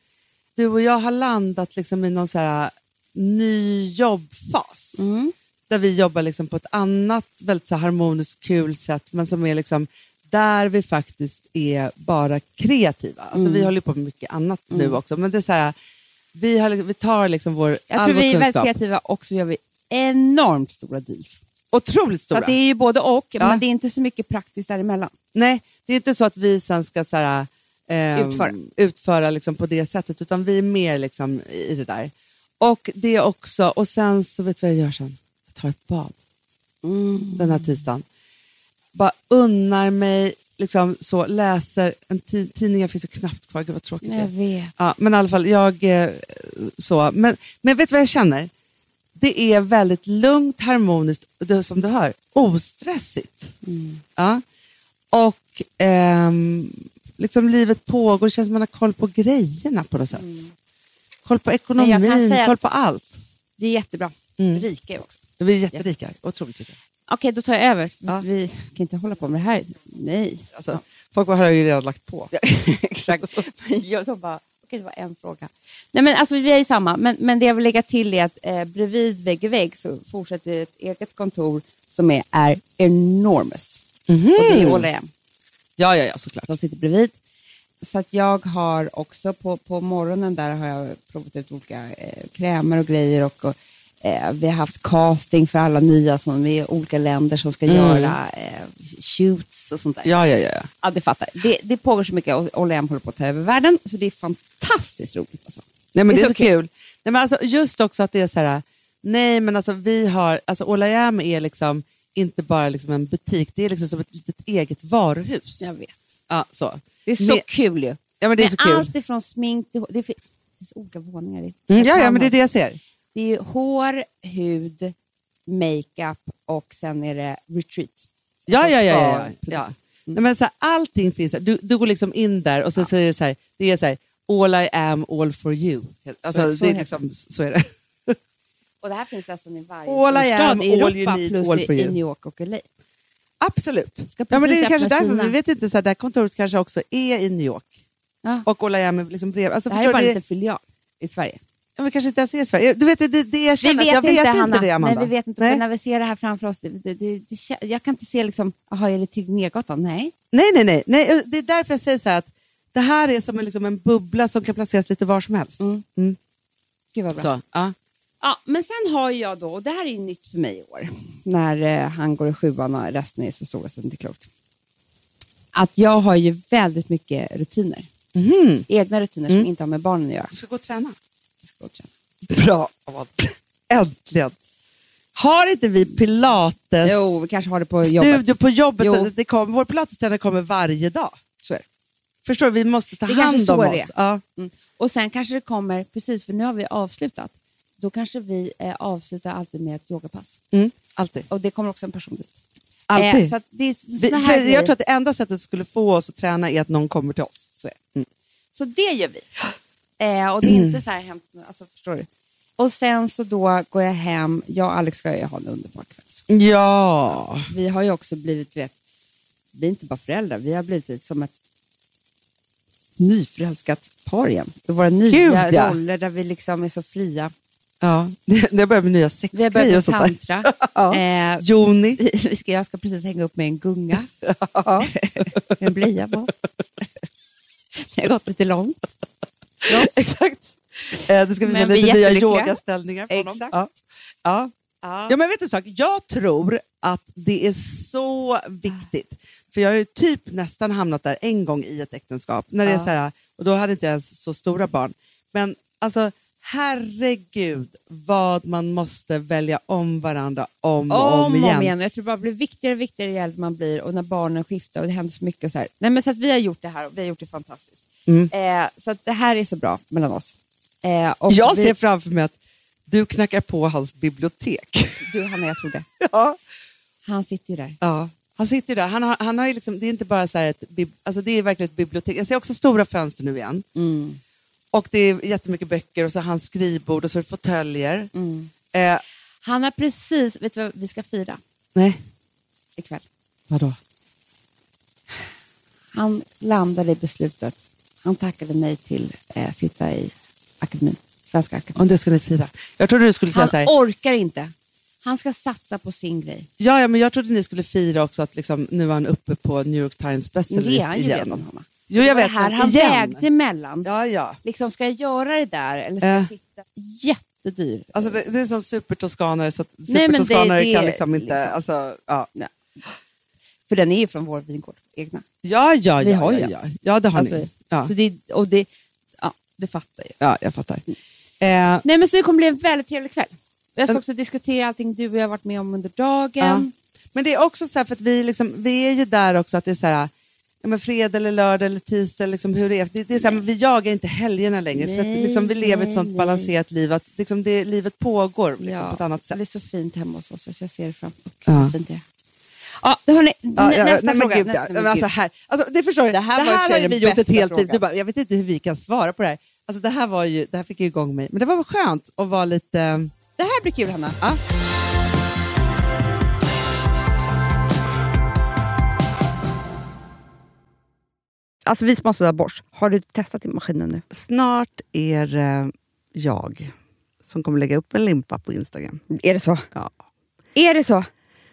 C: du och jag har landat liksom i någon så här ny jobbfas.
D: Mm.
C: Där vi jobbar liksom på ett annat väldigt så här harmoniskt kul sätt men som är liksom där vi faktiskt är bara kreativa. Alltså
D: Mm.
C: Vi håller ju på med mycket annat nu också men det är så här, eh, vi, har, vi tar liksom vår,
D: Jag
C: all
D: tror
C: vår
D: vi är väldigt
C: kunskap.
D: kreativa och så gör vi enormt stora deals.
C: Otroligt
D: Så
C: stora.
D: att det är ju både och,
C: Ja.
D: men det är inte så mycket praktiskt däremellan.
C: Nej, det är inte så att vi sen ska så här, ehm,
D: Utföra.
C: utföra liksom på det sättet, utan vi är mer liksom i det där. Och det också, och sen så vet du vad jag gör sen? Jag tar ett bad den här tisdagen. Bara unnar mig, liksom så, läser, en ti- tidningar finns ju knappt kvar, gud vad tråkigt det är.
D: vet.
C: Ja, men i alla fall, jag eh, så. Men, men vet du vad jag känner? Det är väldigt lugnt, harmoniskt, och det, som du hör, ostressigt.
D: Mm.
C: Ja. Och ehm, liksom livet pågår, det känns som man har koll på grejerna på något sätt. Koll på
D: Mm. Men jag kan
C: ekonomin,
D: säga
C: koll
D: att-
C: på allt.
D: Det är jättebra.
C: Mm.
D: Rika är vi också.
C: Vi är jätterika, otroligt rika.
D: Okej, då tar jag över.
C: Ja.
D: Vi kan inte hålla på med det här. Nej.
C: Alltså, Folk har ju redan lagt på.
D: Ja, (laughs) Exakt. Men jag, de bara, okej det var en fråga. Nej, men alltså, vi är ju samma, men, men det jag vill lägga till är att eh, bredvid vägg i vägg så fortsätter ett eget kontor som är, är enormous. Och det är Ola M
C: Ja, ja, ja, såklart.
D: som sitter bredvid. Så att jag har också på, på morgonen där har jag provat ut olika eh, krämer och grejer och, och eh, vi har haft casting för alla nya som är i olika länder som ska göra eh, shoots och sånt där.
C: Ja, ja, ja. ja.
D: Ja, du fattar. Det, det pågår så mycket och Olle M håller på att ta över världen, så det är fantastiskt roligt. Alltså.
C: Nej, men
D: Det
C: det
D: är
C: är
D: så
C: så kul. Nej, men alltså, just också att det är så här, nej men alltså vi har, alltså Ola är liksom inte bara liksom en butik, det är liksom som ett litet eget varuhus.
D: Jag vet.
C: Ja, så.
D: Det är så
C: Men-
D: kul ju.
C: Ja, men det är
D: Med
C: så kul.
D: allt ifrån smink till... Det fin- det finns olika våningar. i-
C: Mm, ja, ja, men det är det jag ser.
D: Det är ju hår, hud, makeup och sen är det retreat.
C: Ja,
D: Alltså Mm.
C: ja, ja. ja,
D: spa.
C: ja. Nej, men så här, allting finns där. Du, du går liksom in där och sen säger du så här, det är så här, all I am, all for you. Alltså,
D: Så- så
C: det är
D: heter
C: liksom, så är det.
D: Och det här finns nästan i varje
C: All I am,
D: storstad i
C: all you
D: Europa
C: need, all
D: plus
C: for
D: i, i
C: you.
D: New York och LA.
C: Absolut.
D: Ska
C: Ja, men det
D: precis
C: är kanske
D: öppna
C: därför,
D: Kina.
C: vi vet inte, så här, det här kontoret kanske också är i New York.
D: Ja.
C: Och Ola är liksom bredvid. Alltså,
D: Det här är
C: förstår
D: bara
C: du,
D: en
C: det-
D: liten filial i Sverige.
C: Ja, men kanske inte ens är i Sverige. Du vet, det, det, det jag känner, att jag vet inte det, Amanda.
D: Nej, vi vet inte.
C: Nej,
D: Men när vi ser det här framför oss, det, det, det, det, kä- jag kan inte se liksom, jaha, är det Tegnérgatan? Nej.
C: nej, nej, nej, nej. Det är därför jag säger så här att det här är som en, liksom en bubbla som kan placeras lite var som helst.
D: Mm.
C: Mm.
D: Gud vad bra.
C: Så, ja.
D: Ja, men sen har ju jag då, och det här är ju nytt för mig i år, när eh, han går i sjuan och resten är så stora så det inte är klokt. Att jag har ju väldigt mycket rutiner.
C: Mhm.
D: Egna rutiner som inte har med barnen att göra.
C: Jag ska gå och träna.
D: Jag ska gå och träna.
C: Bra, Amanda. Äntligen. Har inte vi pilates
D: Jo, vi kanske har det på jobbet.
C: studio på jobbet?
D: Jo.
C: Så att det kommer, vår pilatestränare kommer varje dag.
D: Så är det.
C: Förstår du? Vi måste ta
D: Det kanske
C: hand
D: så
C: om
D: det är.
C: oss. Ja.
D: Mm. Och sen kanske det kommer, precis för nu har vi avslutat, då kanske vi eh, avslutar alltid med ett yogapass.
C: Mm. Alltid.
D: Och det kommer också en person dit.
C: Alltid.
D: Eh, så att det är så
C: Vi,
D: här
C: för
D: grejer.
C: jag tror att det enda sättet skulle få oss att träna är att någon kommer till oss.
D: Så, är det. så det gör vi. Eh, och det är inte så här hänt nu, alltså förstår du? Och sen så då går jag hem, jag och Alex ska ju ha en underbar kväll.
C: Ja.
D: Vi har ju också blivit, du vet, vi är inte bara föräldrar, vi har blivit som ett nyförälskat par igen. I våra nya
C: Gud, ja.
D: roller där vi liksom är så fria.
C: Ja, det, det har börjat med nya
D: Vi har
C: sexgrejer och
D: börjat med
C: sånt där.
D: tantra. (laughs)
C: Ja.
D: eh,
C: Joni.
D: vi vi ska, jag ska precis hänga upp med en gunga. (laughs) en blöja på. Det har gått lite långt.
C: Exakt. Eh, du ska visa
D: Men vi är
C: lite nya
D: jättelyckliga.
C: yogaställningar på honom.
D: Exakt.
C: Ja. Ja. ja, men vet du en sak? Jag tror att det är så viktigt. För jag har ju typ nästan hamnat där en gång i ett äktenskap. När det är
D: Ja.
C: så här, och då hade inte jag ens så stora barn. Men alltså, herregud vad man måste välja om varandra om och om, igen.
D: Och Jag tror det bara blir viktigare och viktigare ju äldre man blir och när barnen skiftar och det händer så mycket. Och så här. Nej, men så att vi har gjort det här och vi har gjort det fantastiskt.
C: Mm.
D: Eh, så att det här är så bra mellan oss. Eh, och
C: Jag
D: vi,
C: ser framför mig att du knackar på hans bibliotek. (laughs)
D: Du Hanna, jag tror det.
C: ja.
D: Han sitter ju där.
C: Ja, han sitter ju där. Han har, han har ju liksom, det är inte bara så här ett, bib- alltså det är verkligen ett bibliotek. Jag ser också stora fönster nu igen.
D: Mm.
C: Och det är jättemycket böcker och så har han skrivbord och så är det fåtöljer.
D: Mm.
C: Eh,
D: Han har precis, vet du vad vi ska fira
C: nej,
D: ikväll?
C: vadå?
D: Han landade i beslutet. Han tackade nej till eh, sitta i akademin, Svenska akademin.
C: Om det ska ni fira. Jag trodde du skulle säga
D: Han
C: så här.
D: orkar inte. Han ska satsa på sin grej.
C: Ja, ja, men jag trodde ni skulle fira också att liksom, nu var han uppe på New York Times
D: Men
C: bestsellerlist
D: det är han ju
C: igen.
D: redan, Hanna.
C: Jo, jag
D: Det
C: vet.
D: här
C: men
D: han
C: igen.
D: vägde mellan.
C: Ja, ja.
D: Liksom, ska jag göra det där eller ska jag
C: Äh.
D: sitta jättedyr?
C: Alltså det, det är som supertoskanare så att
D: Nej, men det-
C: supertoskanare
D: det
C: kan
D: är
C: liksom inte...
D: liksom-
C: Alltså, ja.
D: För den är ju från vår vingård, egna.
C: Ja, ja,
D: Vi
C: ja,
D: har ju
C: ja,
D: en.
C: ja. ja, det har
D: Alltså,
C: ni. Ja.
D: Så det, och det, ja, du fattar ju.
C: Ja, jag fattar. Eh,
D: Nej, men så det kommer bli en väldigt trevlig kväll. Jag ska
C: Mm.
D: också diskutera allting du och jag har varit med om under dagen.
C: men det är också så här, för att vi, liksom, vi är ju där också att det är så här, ja, men fredag eller lördag eller tisdag, liksom, hur det är. Det, det är så här, men vi jagar inte helgerna längre för att
D: Nej,
C: liksom, vi lever ett
D: nej,
C: sånt
D: nej.
C: balanserat liv att liksom, det, livet pågår liksom,
D: Ja,
C: på ett annat
D: Det
C: sätt.
D: blir så fint hemma hos oss, så jag ser det framför mig.
C: Ja.
D: Ja. Fint det är. Ja, hörni,
C: Ja, ja,
D: nästa
C: nej, men
D: fråga.
C: Gud,
D: nästa,
C: ja. Men alltså, här, alltså, det förstår du, det
D: här
C: här,
D: var i och för sig
C: har ju vi
D: den
C: gjort ett
D: bästa
C: helt liv. Du
D: frågan.
C: bara, jag vet inte hur vi kan svara på det här. Alltså, det, här var ju, det här fick ju igång mig, men det var väl skönt att vara lite...
D: det här blir kul, Hanna.
C: Ja.
D: Alltså vi som har sådär borst, har du testat i maskinen nu?
C: Snart är det jag som kommer lägga upp en limpa på Instagram.
D: Är det så?
C: Ja.
D: Är det så?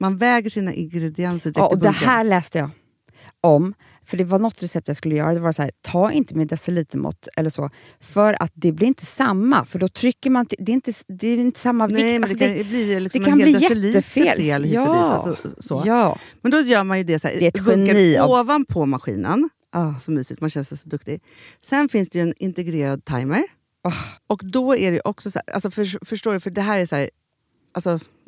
C: man väger sina ingredienser direkt
D: Ja, och
C: i
D: det
C: bunken.
D: här läste jag om. För det var något recept jag skulle göra. Det var så här, ta inte med decilitermått eller så. För att det blir inte samma. För då trycker man... till- Det är inte, det är inte samma vikt.
C: Nej, men
D: Alltså,
C: det kan ju bli liksom
D: det kan
C: en hel
D: bli
C: deciliter
D: jättefel.
C: fel hit och
D: Ja.
C: dit. Alltså, så.
D: Ja.
C: Men då gör man ju det så här,
D: Det är ett
C: dunkar
D: geni av-
C: ovanpå maskinen.
D: Ah.
C: Så mysigt, man känns så duktig. Sen finns det ju en integrerad timer.
D: Ah.
C: Och då är det också så här, alltså för, förstår du, för det här är så här, alltså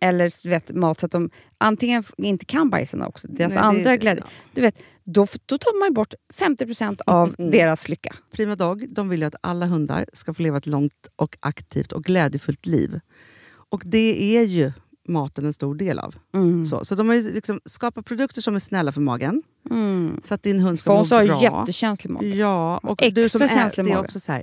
D: eller du vet, mat så att de antingen f- inte kan bajsa också, deras
C: Nej, det-
D: andra
C: det-
D: glädje,
C: ja.
D: du vet, då, f- då tar man ju bort 50% av
C: Mm.
D: deras lycka.
C: Prima Dog de vill ju att alla hundar ska få leva ett långt och aktivt och glädjefullt liv. Och det är ju maten en stor del av.
D: Mm.
C: Så, så de har ju liksom skapat produkter som är snälla för magen.
D: Mm.
C: Så att din hund ska
D: Fons har
C: må
D: ju
C: bra. Mm.
D: jättekänslig mage.
C: Ja, och
D: Extra
C: du som är,
D: känslig
C: det är
D: mage.
C: också så här.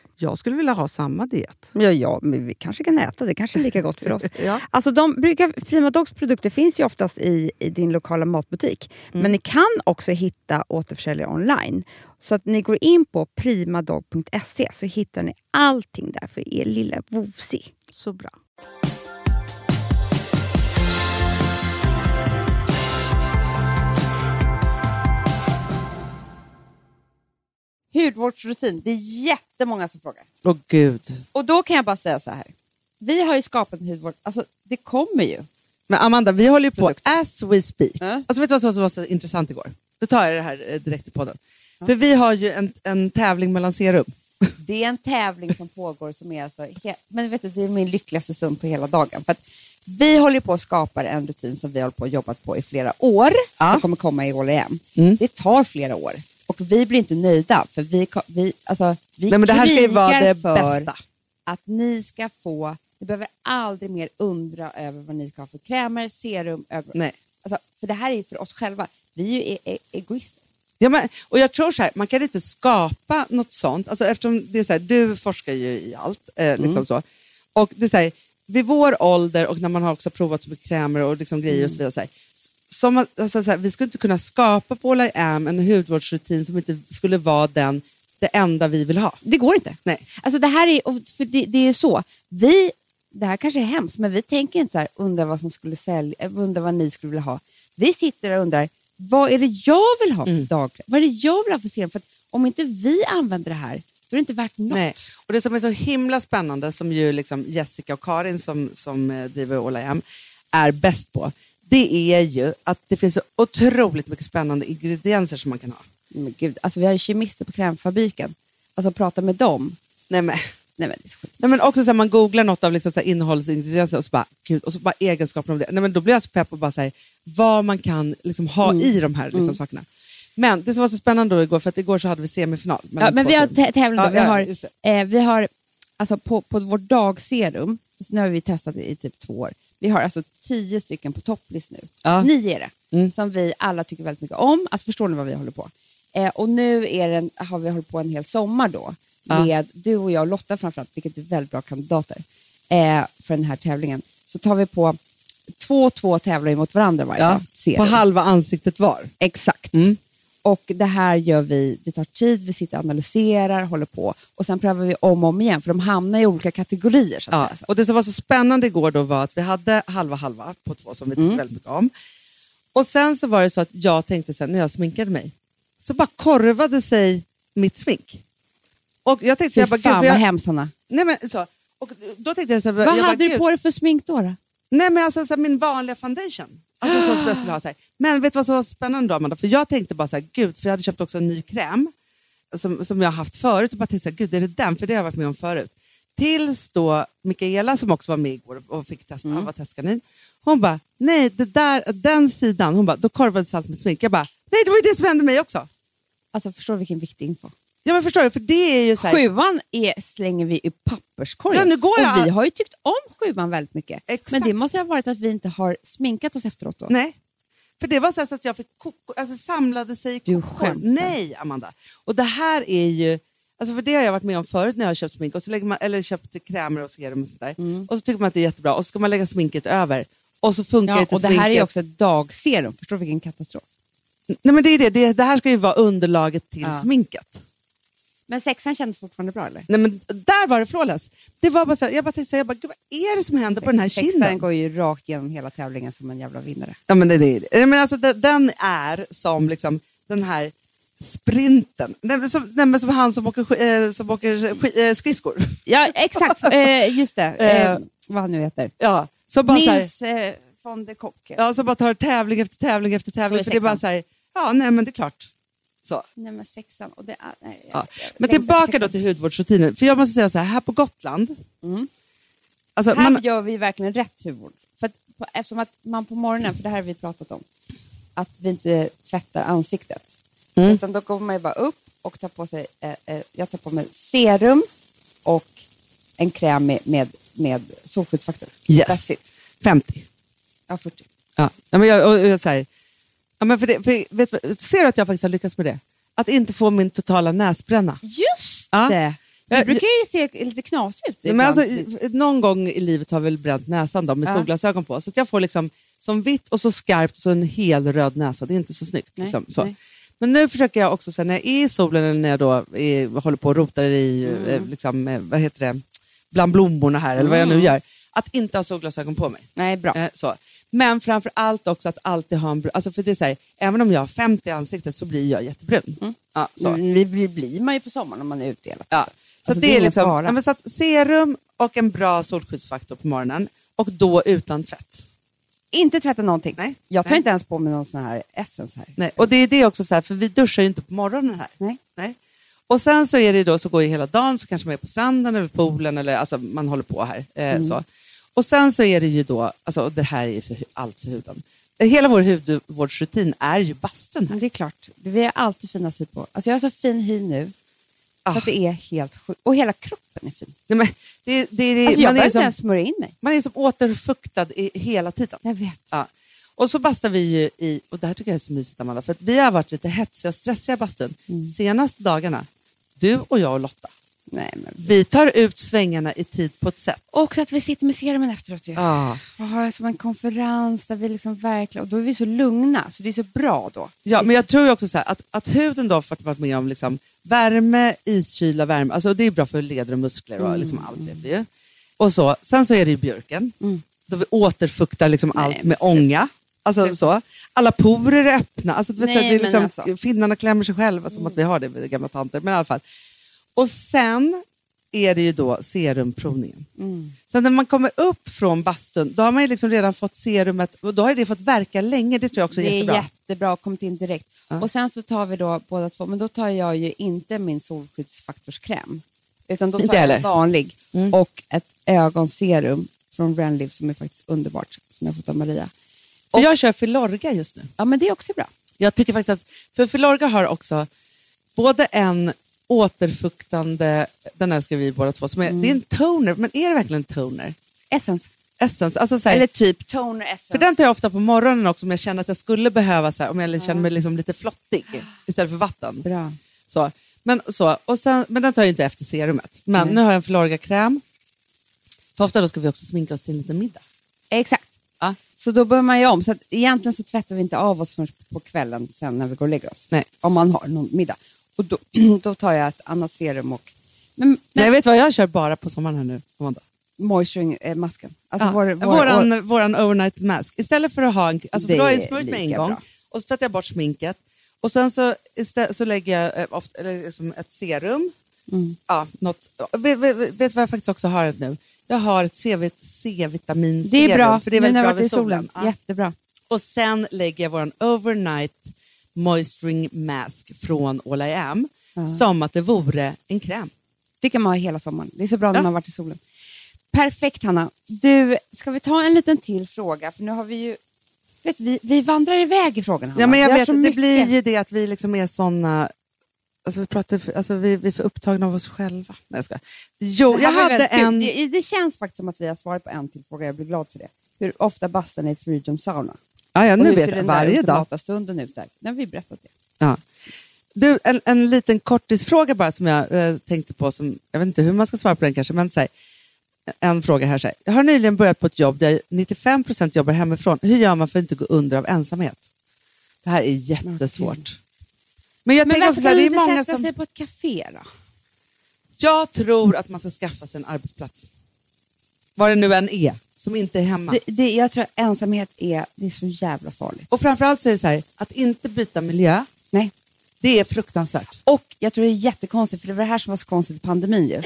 C: Jag skulle vilja ha samma diet.
D: ja, ja, men vi kanske kan äta. Det kanske är lika gott (laughs) för oss.
C: Ja.
D: Alltså de brukar, Prima Dogs produkter finns ju oftast i, i din lokala matbutik. Men ni kan också hitta återförsäljare online. Så att ni går in på primadog.se så hittar ni allting där för er lilla vovsi.
C: Så bra.
D: Hudvårdsrutin, det är jättemånga som frågar.
C: Åh gud.
D: Och då kan jag bara säga så här. Vi har ju skapat en hudvård, alltså det kommer ju.
C: Men Amanda, vi håller ju på as we speak.
D: Ja.
C: Alltså, vet du vad som var så intressant igår? Nu tar jag det här eh, direkt i podden. För vi har ju en, en tävling mellan serum.
D: Det är en tävling som pågår som är alltså, he- men vet du, det är min lyckligaste stund på hela dagen. För att vi håller på att skapa en rutin som vi har hållit på och jobbat på i flera år, som kommer komma i år igen.
C: Mm.
D: Det tar flera år och vi blir inte nöjda för vi, ko- vi, alltså, vi
C: Nej, men det här ska ju
D: krigar
C: vara det
D: för
C: bästa.
D: att ni ska få, ni behöver aldrig mer undra över vad ni ska ha för krämer, serum, ögon.
C: Nej.
D: Alltså, för det här är ju för oss själva. Vi är ju e- e- egoister.
C: Ja, men, och jag tror så här, man kan inte skapa något sånt. Alltså, eftersom det är så här, du forskar ju i allt. Eh,
D: Mm.
C: liksom så. Och det är så här, vid vår ålder och när man har också provat med krämer och liksom grejer
D: Mm.
C: och så vidare. Så här, s- som, att- alltså, så här, vi skulle inte kunna skapa på All I Am en hudvårdsrutin som inte skulle vara den, det enda vi vill ha.
D: Det går inte.
C: Nej.
D: Alltså det här är, och för det, det är ju så, vi, det här kanske är hemskt, men vi tänker inte så här, undrar vad som skulle sälja, eh, undrar vad ni skulle vilja ha. Vi sitter och undrar, vad är det jag vill ha för dagkräm? Vad är det jag vill ha för serum? För att om inte vi använder det här, då är det inte värt något.
C: Nej. Och det som är så himla spännande, som ju liksom Jessica och Karin som, som eh, driver All I Am är bäst på, det är ju att det finns så otroligt mycket spännande ingredienser som man kan ha.
D: Men gud, alltså vi har ju kemister på krämfabriken. Alltså prata med dem.
C: Nej, men.
D: Nej men det är så skit.
C: Nej, men också så här, man googlar något av liksom så här innehållsingredienser och så bara, gud, och så bara egenskaperna av det. Nej, men då blir jag så pepp och bara så här, vad man kan liksom ha
D: Mm.
C: i de här liksom, sakerna. Men det som var så spännande då igår, för att igår så hade vi semifinal. mellan
D: Ja, men
C: två
D: vi har
C: sidor.
D: tä- tävling då.
C: Ja,
D: vi
C: ja,
D: har,
C: just det.
D: eh, vi har alltså på, på vårt dagserum, så nu har vi testat det i typ två år, vi har alltså tio stycken på topplist nu.
C: Ja.
D: Nio är det,
C: Mm.
D: som vi alla tycker väldigt mycket om. Alltså förstår ni vad vi håller på? Eh, och nu är det en, har vi hållit på en hel sommar då,
C: Ja.
D: med du och jag och Lotta framförallt, vilket är väldigt bra kandidater eh, för den här tävlingen. Så tar vi på två och två tävlar ju mot varandra varje dag. serum.
C: På halva ansiktet var.
D: Exakt. Och det här gör vi, det tar tid, vi sitter och analyserar, håller på och sen prövar vi om och om igen för de hamnar i olika kategorier. Så att
C: Ja.
D: säga. Så.
C: Och det som var så spännande igår då var att vi hade halva halva på två som vi
D: Mm.
C: tyckte väldigt mycket om. Och sen så var det så att jag tänkte sen när jag sminkade mig, så bara korvade sig mitt smink. Och jag tänkte så
D: Fy
C: jag bara,
D: fan
C: gud, för
D: vad
C: jag,
D: hemskt Hanna.
C: nej men så, och då tänkte jag så här,
D: Vad
C: jag
D: hade
C: bara,
D: du
C: gud,
D: på dig för smink då? då?
C: Nej men alltså så här, min vanliga foundation. Alltså så som jag skulle ha. Så här. Men vet du vad som var spännande då Amanda? För jag tänkte bara så här, gud, för jag hade köpt också en ny kräm som, som jag har haft förut och bara tänkte så här, gud är det den? För det har jag varit med om förut. Tills då Mikaela som också var med igår och fick testa, var testkanin. Hon bara, nej det där, den sidan, hon bara, då korvades allt med smink. Jag bara, nej det var ju det som hände mig också.
D: Alltså förstår du vilken viktig info?
C: Ja men förstår du, för det är ju så här,
D: Sjuan är, slänger vi i papperskorgen.
C: Ja, nu går
D: och
C: det.
D: vi har ju tyckt om sjuan väldigt mycket.
C: Exakt.
D: Men det måste ha varit att vi inte har sminkat oss efteråt då.
C: Nej. För det var så, här så att jag fick koko, alltså samlade sig i
D: Du
C: kokor.
D: skämtar.
C: Nej, Amanda. Och det här är ju... Alltså för det har jag varit med om förut när jag har köpt smink, och så lägger man, eller köpt krämer och serum och sådär.
D: Mm.
C: Och så tycker man att det är jättebra och så ska man lägga sminket över. Och så funkar
D: Ja,
C: inte
D: och det
C: sminket.
D: här är ju också ett dagserum. Förstår du vilken katastrof?
C: Nej, men det, är det. Det, det här ska ju vara underlaget till
D: Ja.
C: sminket.
D: Men sexan kändes fortfarande bra eller?
C: Nej, men där var det flawless. Det var bara så här, jag bara tänkte så här, jag bara, gud, vad är det som händer på den här
D: Sexan
C: kinden?
D: går ju rakt igenom hela tävlingen som en jävla vinnare.
C: Ja, men det, det, det. Men alltså, de- den är som liksom, den här sprinten. Nej, men som, nej, men som han som åker, sk- eh, som åker sk- eh, skridskor.
D: Ja,
C: (laughs)
D: exakt. Eh, just det. Eh,
C: Eh,
D: vad han nu heter.
C: Ja, som, bara, så här,
D: Nils eh, von der Kock.
C: ja, som bara tar tävling efter tävling efter tävling.
D: är
C: För det är bara
D: sexan.
C: så här, ja, nej men det är klart. Så.
D: Nej, men sexan. Och det är, nej,
C: Ja.
D: jag- jag
C: Men
D: tänkte på
C: tillbaka
D: sexan. Mm.
C: då till hudvårdsrutinen. För jag måste säga så här, här på Gotland, alltså,
D: Här
C: man,
D: gör vi verkligen rätt huvud. För att, på, eftersom att man på morgonen, för det här har vi pratat om, att vi inte tvättar ansiktet.
C: Mm.
D: Utan då går man ju bara upp och tar på sig, eh, eh, jag tar på mig serum och en kräm med, med, med solskyddsfaktor.
C: Yes.
D: That's it.
C: 50.
D: Ja, 40.
C: Ja. Ja, men jag, och, och jag, så här, ja, men för det, för, vet, du vad? ser du att jag faktiskt har lyckats med det? Att inte få min totala näsbränna.
D: Just
C: Ja.
D: det!
C: Jag-
D: Det brukar ju se lite knasigt ut.
C: Men
D: ibland.
C: alltså, i- någon gång i livet har jag väl bränt näsan då, med
D: Ja.
C: solglasögon på. Så att jag får liksom som vitt och så skarpt och så en hel röd näsa. Det är inte så snyggt.
D: Nej,
C: Liksom, så.
D: nej.
C: Men nu försöker jag också, så här, när jag är i solen eller när jag då är, håller på och rotar i
D: Mm.
C: eh, liksom, eh, vad heter det? bland blommorna här, eller vad jag
D: Mm.
C: nu gör, att inte ha solglasögon på mig.
D: Nej, bra.
C: Eh, så. Men framför allt också att alltid ha en br- alltså för det är så här, även om jag har 50 i ansiktet så blir jag jättebrun. Ja, så.
D: Mm, Vi, vi blir man ju på sommaren om man är ute hela tiden.
C: Ja. Så,
D: Alltså,
C: att det
D: det är
C: är
D: ingen
C: liksom,
D: fara.
C: ja, men så att serum och en bra solskyddsfaktor på morgonen och då utan tvätt.
D: Inte tvätta någonting.
C: Nej.
D: Jag tar
C: Nej.
D: inte ens på mig någon sån här essens här.
C: Nej. Och det är det också, så här, för vi duschar ju inte på morgonen här.
D: Nej.
C: Nej. Och sen så är det ju då, så går ju hela dagen, så kanske man är på stranden eller poolen, eller, alltså man håller på här. Eh, så. Och sen så är det ju då, alltså, och det här är ju för, hu- allt för huden. Eh, Hela vår hudvårdsrutin är ju bastun här.
D: Men det är klart, vi har alltid fina sy på. Alltså jag har så fin hy nu. Så att det är helt sjukt. Och hela kroppen är fin.
C: Nej, men det, det, det,
D: Alltså jag
C: man,
D: behöver
C: är
D: inte
C: som,
D: ens smörja in mig.
C: man är som återfuktad i, hela tiden.
D: Jag vet.
C: Ja. Och så bastar vi ju i, och det här tycker jag är så mysigt Amanda, för att vi har varit lite hetsiga och stressiga i bastun
D: Mm.
C: senaste dagarna. Du och jag och Lotta.
D: Nej, men...
C: Vi tar ut svängarna i tid på ett sätt.
D: Också att vi sitter med serumen efteråt ju.
C: Ja,
D: Och har som en konferens där vi liksom verkligen... Och då är vi så lugna, så det är så bra då.
C: ja men jag tror ju också så här, att, att huden då har fått varit med om liksom värme, iskyla, värme. Alltså det är bra för leder och muskler och liksom
D: Mm.
C: allt vet vi ju. Och så, sen så är det ju björken. Då vi återfuktar liksom
D: Nej,
C: allt
D: men
C: med
D: sluta.
C: ånga. Alltså så. Alla porer är öppna. Alltså, du vet,
D: Nej,
C: så här, det är
D: men
C: liksom,
D: alltså.
C: Finnarna klämmer sig själva som att vi har det, vi gamla tanter. Men i alla fall. Och sen är det ju då serumprovningen.
D: Mm.
C: Sen när man kommer upp från bastun, då har man ju liksom redan fått serumet och då har det fått verka länge. Det tror jag också är
D: det
C: jättebra.
D: är jättebra, kommit in direkt. Och sen så tar vi då båda två, men då tar jag ju inte min solskyddsfaktorskräm. Utan då
C: Inte
D: tar jag
C: heller. Mm.
D: en vanlig och ett ögonserum från Renliv som är faktiskt underbart, som jag fått av Maria.
C: För jag kör Filorga just nu.
D: Ja, men det är också bra.
C: Jag tycker faktiskt att, för Filorga har också både en återfuktande, den älskar vi båda två, som är, det är
D: Mm.
C: en toner, men är det verkligen en toner?
D: Essence.
C: Essence, alltså så här,
D: Eller typ toner essence.
C: För den tar jag ofta på morgonen också om jag känner att jag skulle behöva, så här, om jag känner mig liksom lite flottig istället för vatten.
D: Bra.
C: Så. Men, så, och sen, men den tar jag inte efter serumet. Men nu har jag en Filorga-kräm. För ofta då ska vi också sminka oss till en liten middag.
D: Exakt.
C: Ja.
D: Så då börjar man ju om. Så att egentligen så tvättar vi inte av oss förrän på kvällen sen när vi går och lägger oss.
C: Nej.
D: Om man har någon middag. Och då, (clears throat) då tar jag ett annat serum och men, men,
C: Nej, vet du vad jag kör bara på sommaren här nu? Amanda?
D: moisturing-masken. Alltså
C: Ja,
D: vår, vår, vår,
C: våran, våran overnight mask. Istället för att ha en... Alltså för
D: Det
C: då har jag
D: är
C: smörjt mig en
D: lika
C: gång
D: bra.
C: och så tvättar jag bort sminket. Och sen så, istä- så lägger jag eh, ofta, eller liksom ett serum.
D: Mm.
C: Ja, något. Vet, vet, vet du vad jag faktiskt också har nu? Jag har ett C-vit- C-vitaminserum.
D: det är bra,
C: För det är
D: nu
C: väldigt
D: när
C: bra
D: vi varit i
C: vid
D: solen.
C: solen. Ja.
D: Jättebra.
C: Och sen lägger jag våran overnight moisturing mask från All I Am som att det vore en kräm.
D: Det kan man ha hela sommaren. Det är så bra när
C: Ja.
D: man har varit i solen. Perfekt Hanna. Du, ska vi ta en liten till fråga? För nu har vi ju... Vet, vi, vi vandrar iväg i frågan Hanna.
C: Ja, men jag
D: Vi har
C: vet,
D: så
C: det
D: mycket.
C: blir ju det att vi liksom är såna... Alltså vi, pratar, för- alltså vi, vi är för upptagna av oss själva. Nej, jag skojar. Jo,
D: Det
C: jag
D: här var
C: hade
D: väldigt kul.
C: en...
D: Det, det känns faktiskt som att vi har svarat på en till fråga. Jag blir glad för det. Hur ofta bastar ni i Freedom Sauna?
C: Ja, ja,
D: Och
C: nu
D: hur
C: vet
D: ser
C: jag.
D: den
C: Varje
D: där
C: dag.
D: ultimata stunden ut där? Nu har vi berättat det.
C: Ja. Du, en, en liten kortisfråga bara som jag eh, tänkte på. Som, jag vet inte hur man ska svara på den kanske, men så här, en fråga här. Så här. Jag har nyligen börjat på ett jobb där 95 procent jobbar hemifrån. Hur gör man för att inte gå under av ensamhet? Det här är jättesvårt. Men jag
D: Men
C: tänker
D: varför
C: också så här,
D: kan du
C: det är
D: inte
C: många
D: sätta
C: som...
D: sig på ett café då?
C: Jag tror att man ska skaffa sig en arbetsplats. Vad det nu än är, som inte är hemma.
D: Det, det, jag tror att ensamhet är, det är så jävla farligt.
C: Och framförallt så är det så här, att inte byta miljö,
D: Nej.
C: det är fruktansvärt.
D: Och jag tror det är jättekonstigt, för det var det här som var så konstigt i pandemin ju.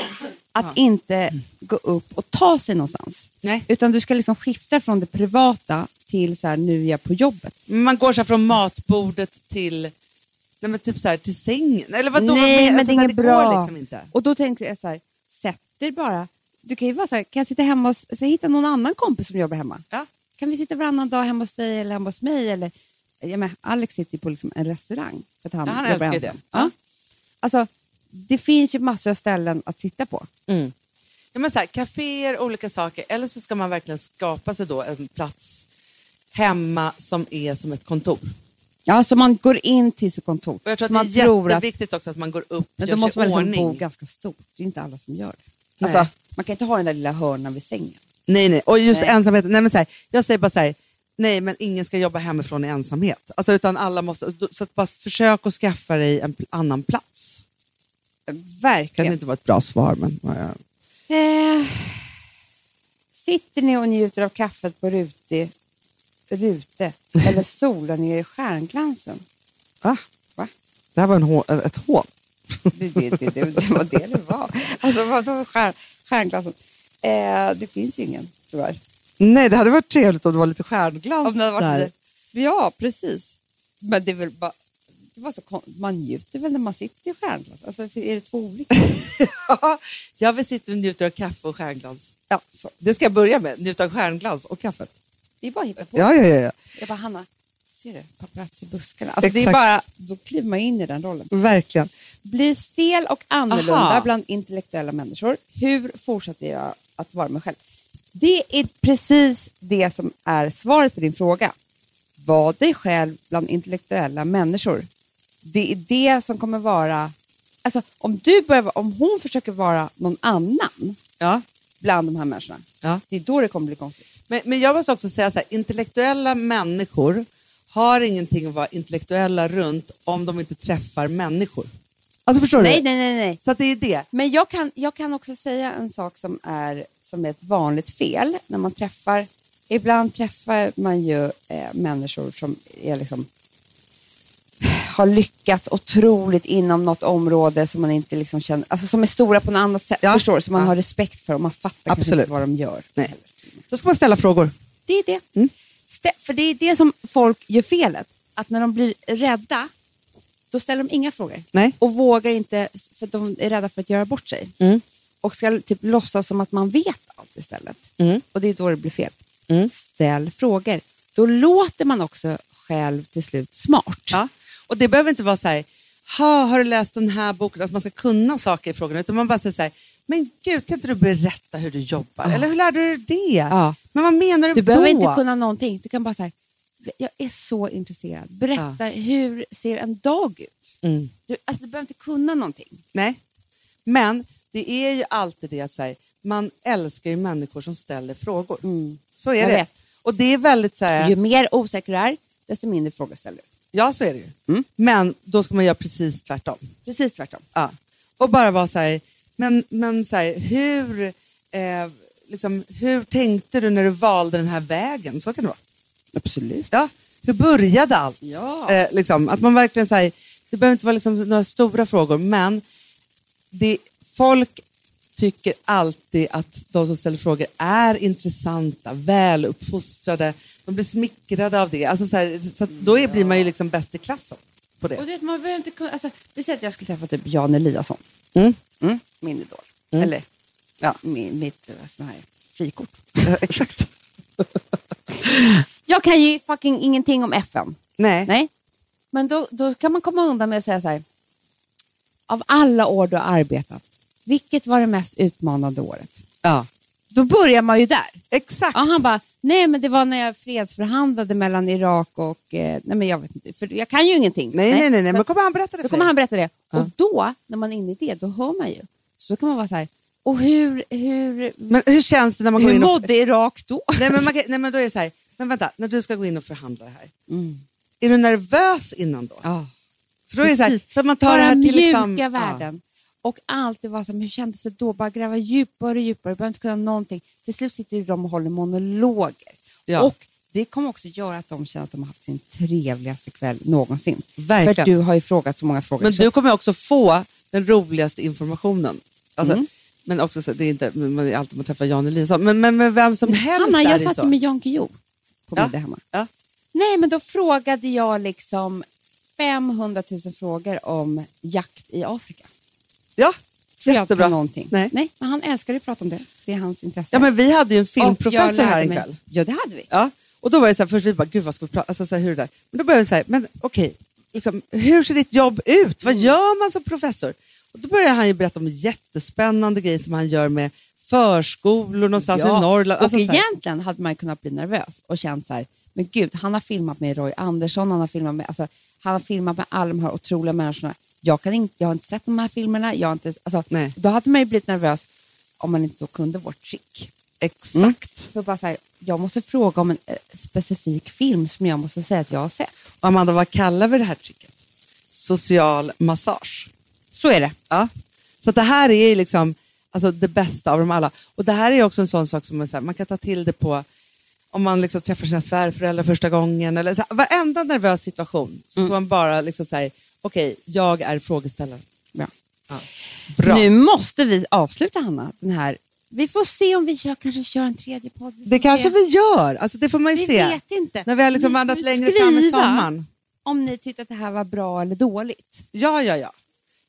D: Att inte gå upp och ta sig någonstans.
C: Nej.
D: Utan du ska liksom skifta från det privata till så här, nu är jag på jobbet.
C: Man går så här från matbordet till, nej men typ så här, till sängen. Eller vadå?
D: Nej, men
C: alltså
D: det är
C: så här,
D: inget bra.
C: går liksom inte.
D: Och då tänkte jag så här, sätt dig bara. Du kan ju vara så här, kan jag sitta hemma och så hitta någon annan kompis som jobbar hemma?
C: Ja.
D: Kan vi sitta varannan dag hemma hos dig eller hemma hos mig? Eller, jag menar, Alex sitter ju på liksom en restaurang för att han,
C: Ja, han
D: jobbar
C: älskar ju
D: ensam.
C: det.
D: Ja. Alltså, det finns ju massor av ställen att sitta på.
C: ja, men så här, kaféer, olika saker. Eller så ska man verkligen skapa sig då en plats hemma som är som ett kontor.
D: Ja, så man går in till sitt kontor.
C: Och jag tror
D: så man
C: att det är jätteviktigt också att man går upp och
D: men
C: gör
D: då måste
C: sig
D: man
C: i
D: liksom bo
C: ordning.
D: ganska stort. Det är inte alla som gör det.
C: Nej.
D: Alltså, man kan inte ha den där lilla hörnan vid sängen.
C: Nej, nej. Och just
D: Nej.
C: ensamheten. Nej, men så här, jag säger bara så här, nej men ingen ska jobba hemifrån i ensamhet. Alltså, utan alla måste, så att bara försök att skaffa dig en pl- annan plats. kanske
D: Verkligen.
C: inte var ett bra svar, men... ja.
D: Eh, sitter ni och njuter av kaffet på rute, rute eller solar ner i stjärnglansen?
C: Va?
D: Va?
C: Det här var en hå- ett hån.
D: Det, det, det, det, det var det det var. Alltså vadå stjärn, stjärnglansen? Eh, det finns ju ingen, tyvärr.
C: Nej, det hade varit trevligt om det var lite stjärnglans
D: Om det hade varit
C: där. (laughs)
D: lite, ja, precis. Men det är väl bara... Det var så kon- man njuter väl när man sitter i stjärnglans? Alltså, är det två olika?
C: jag vill sitta och njuta av kaffe och stjärnglans.
D: Ja, så.
C: Det ska jag börja med, njuta av stjärnglans och kaffet.
D: Det är bara att hitta på.
C: Ja, ja, ja,
D: Jag bara, Hanna, ser du? Paparazzi-buskarna. Alltså, det är
C: Exakt.
D: bara, då kliver man in i den rollen.
C: ja. Verkligen.
D: Bli stel och annorlunda
C: Aha.
D: bland intellektuella människor. Hur fortsätter jag att vara mig själv? Det är precis det som är svaret på din fråga. Var dig själv bland intellektuella människor. Det är det som kommer vara... Alltså, om, du börjar, vara- om hon försöker vara någon annan
C: Ja.
D: bland de här människorna,
C: Ja.
D: det är då det kommer bli konstigt.
C: Men, men jag måste också säga så här, intellektuella människor har ingenting att vara intellektuella runt om de inte träffar människor. Alltså förstår
D: Nej,
C: du?
D: nej, nej. nej.
C: Så att det är det.
D: Men jag kan, jag kan också säga en sak som är, som är ett vanligt fel när man träffar... Ibland träffar man ju eh, människor som är liksom, har lyckats otroligt inom något område som man inte liksom känner... Alltså som är stora på något annat sätt,
C: Ja.
D: förstår du? Som man
C: Ja.
D: har respekt för och man fattar kanske
C: Absolut.
D: inte vad de gör.
C: Nej. Då ska man ställa frågor.
D: Det är det.
C: Mm.
D: Stä- För det är det som folk gör felet. Att när de blir rädda, då ställer de inga frågor.
C: Nej.
D: Och vågar inte, för att de är rädda för att göra bort sig.
C: Mm.
D: Och ska typ låtsas som att man vet allt istället.
C: Mm.
D: Och det är då det blir fel. Ställ frågor. Då låter man också själv till slut smart.
C: Ja. Och det behöver inte vara så här, ha, har du läst den här boken? Att man ska kunna saker i frågan. Utan man bara säger så här, men gud, kan inte du berätta hur du jobbar? Eller hur lärde du dig det?
D: Ja.
C: Men vad menar du,
D: Du
C: då?
D: behöver inte kunna någonting. Du kan bara säga, jag är så intresserad. Berätta, hur ser en dag ut?
C: Mm.
D: Du, alltså, du behöver inte kunna någonting.
C: Nej. Men det är ju alltid det att så här, man älskar ju människor som ställer frågor. Så är
D: Mm. Jag
C: det.
D: vet.
C: Och det är väldigt så här,
D: Ju mer osäker du är, desto mindre frågor ställer du.
C: ja så är det ju. Men då ska man göra precis tvärtom.
D: Precis tvärtom.
C: Ja. Och bara vara så här, men, men så här, hur, eh, liksom, hur tänkte du när du valde den här vägen? Så kan det vara.
D: Absolut.
C: Ja. Hur började allt?
D: Ja.
C: Eh, liksom, att man verkligen så här, det behöver inte vara liksom några stora frågor, men det, folk tycker alltid att de som ställer frågor är intressanta, väluppfostrade, de blir smickrade av det. Alltså så här, så att då är, blir man ju liksom bäst i klassen på det.
D: Och du vet, man behöver inte kunna... Alltså, vi säger att jag skulle träffa typ Jan Eliasson.
C: Mm.
D: Mm. Min idol. Eller ja. min, mitt eh, sån här frikort.
C: (laughs) Exakt.
D: Jag kan ju fucking ingenting om FN.
C: Nej.
D: Nej. Men då, då kan man komma undan med att säga så här. Av alla år du har arbetat, vilket var det mest utmanande året?
C: Ja.
D: Då börjar man ju där.
C: Exakt.
D: Ja, han bara, nej men det var när jag fredsförhandlade mellan Irak och, eh, nej men jag vet inte, för jag kan ju ingenting.
C: Nej, nej, nej, nej.
D: Så
C: men kommer han berätta det för
D: då kommer
C: dig?
D: han berätta det.
C: Ja.
D: Och då, när man är inne i det, då hör man ju. Så då kan man vara så här, och hur, hur,
C: Men hur känns det när man går
D: hur
C: in och...
D: mådde Irak då?
C: Nej men, man kan, nej, men då är det så här, men vänta, när du ska gå in och förhandla det här,
D: Mm.
C: är du nervös innan då?
D: Ja.
C: För då är det så, här,
D: precis.
C: så att man tar
D: Bara
C: det här till
D: mjuka
C: liksom,
D: värden. Och alltid vara så här, men hur kändes det då? Bara gräva djupare och djupare, du behöver inte kunna någonting. Till slut sitter ju de och håller monologer.
C: Ja.
D: Och det kommer också göra att de känner att de har haft sin trevligaste kväll någonsin.
C: Verkligen.
D: För du har ju frågat så många
C: Ja.
D: frågor.
C: Men
D: Så-
C: du kommer också få den roligaste informationen. Alltså,
D: Mm.
C: Men också, så, det är inte man är alltid man träffar Jan Eliasson, men, men, men vem som helst
D: Hanna,
C: är
D: jag
C: ju
D: satt
C: så.
D: ju med Jan Guillou på
C: Ja,
D: middag hemma.
C: ja.
D: Nej, men då frågade jag liksom 500 000 frågor om jakt i Afrika.
C: Ja,
D: Tror jag
C: jättebra.
D: kan någonting.
C: Nej.
D: Nej, men han älskar ju att prata om det. Det är hans intresse.
C: ja, men vi hade ju en
D: Och jag
C: filmprofessor
D: lärde
C: här en
D: mig-
C: kväll.
D: Ja, det hade vi.
C: Ja. Och då var det så här, först vi bara, gud vad ska vi prata, alltså, så här, hur är det där? Men då började vi så här, men okej, liksom, hur ser ditt jobb
D: Mm.
C: ut? Vad gör man som professor? Och då började han ju berätta om jättespännande grejer som han gör med förskolor någonstans i Norrland. Alltså,
D: och
C: så här,
D: egentligen hade man ju kunnat bli nervös och känt så här, men gud, han har filmat med Roy Andersson, han har filmat med, alltså, han har filmat med alla de här otroliga människorna. Jag, kan inte, jag har inte sett de här filmerna. Jag har inte, alltså,
C: Nej.
D: då hade man ju blivit nervös om man inte då kunde vårt trick. Mm.
C: Exakt.
D: För bara så här, jag måste fråga om en eh, specifik film som jag måste säga att jag har sett.
C: Och Amanda, vad kallar vi det här tricket? Social massage.
D: Så är det.
C: Ja. Så att det här är ju liksom alltså, det bästa av dem alla. Och det här är ju också en sån sak som man, så här, man kan ta till det på om man liksom träffar sina svärföräldrar första gången. Eller, så här, varenda nervös situation så
D: Mm.
C: får man bara liksom säga, okej, jag är frågeställaren.
D: Ja.
C: Ja. Bra.
D: Nu måste vi avsluta, Hanna. Den här. Vi får se om vi kör, kanske kör en tredje podd. Vi får
C: Det kanske
D: se.
C: vi gör. Alltså, det får man ju
D: Vi
C: se.
D: vet inte.
C: När vi har liksom
D: Ni
C: vandrat
D: får
C: längre fram i
D: skriva
C: sommaren.
D: Om ni tyckte att det här var bra eller dåligt.
C: Ja, ja, ja.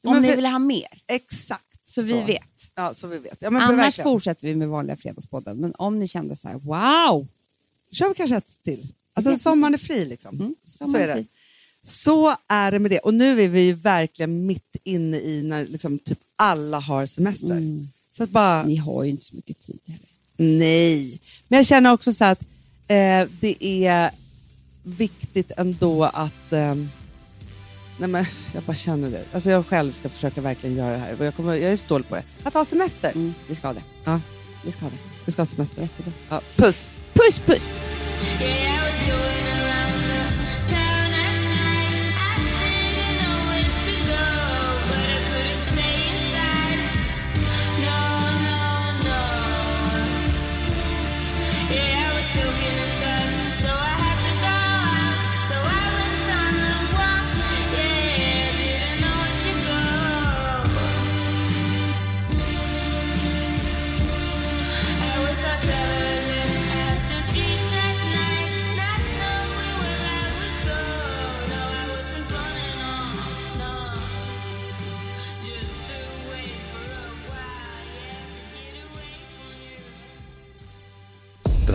D: Om
C: Men
D: ni
C: vi-
D: vill ha mer,
C: Exakt.
D: så vi vet.
C: Ja, så vi vet. Ja, men
D: Annars
C: verkligen.
D: fortsätter vi med vanliga Fredagspodden. Men om ni kände så här, wow!
C: kör vi kanske ett till. Alltså sommaren är fri liksom. så
D: Mm. sommaren
C: är
D: är
C: det.
D: fri.
C: Så är det med det. Och nu är vi ju verkligen mitt inne i när liksom, typ alla har semester.
D: Mm.
C: Så att bara,
D: Ni har ju inte så mycket tid heller.
C: nej. Men jag känner också så här att eh, det är viktigt ändå att... Eh, nej men, (laughs) jag bara känner det. Alltså jag själv ska försöka verkligen göra det här. Och Jag, kommer, jag är så dålig på det. Att ha semester.
D: Mm, vi ska ha det.
C: Ja,
D: Vi ska ha det.
C: vi ska ha semester. Ja, puss!
D: Puss, puss!
F: Den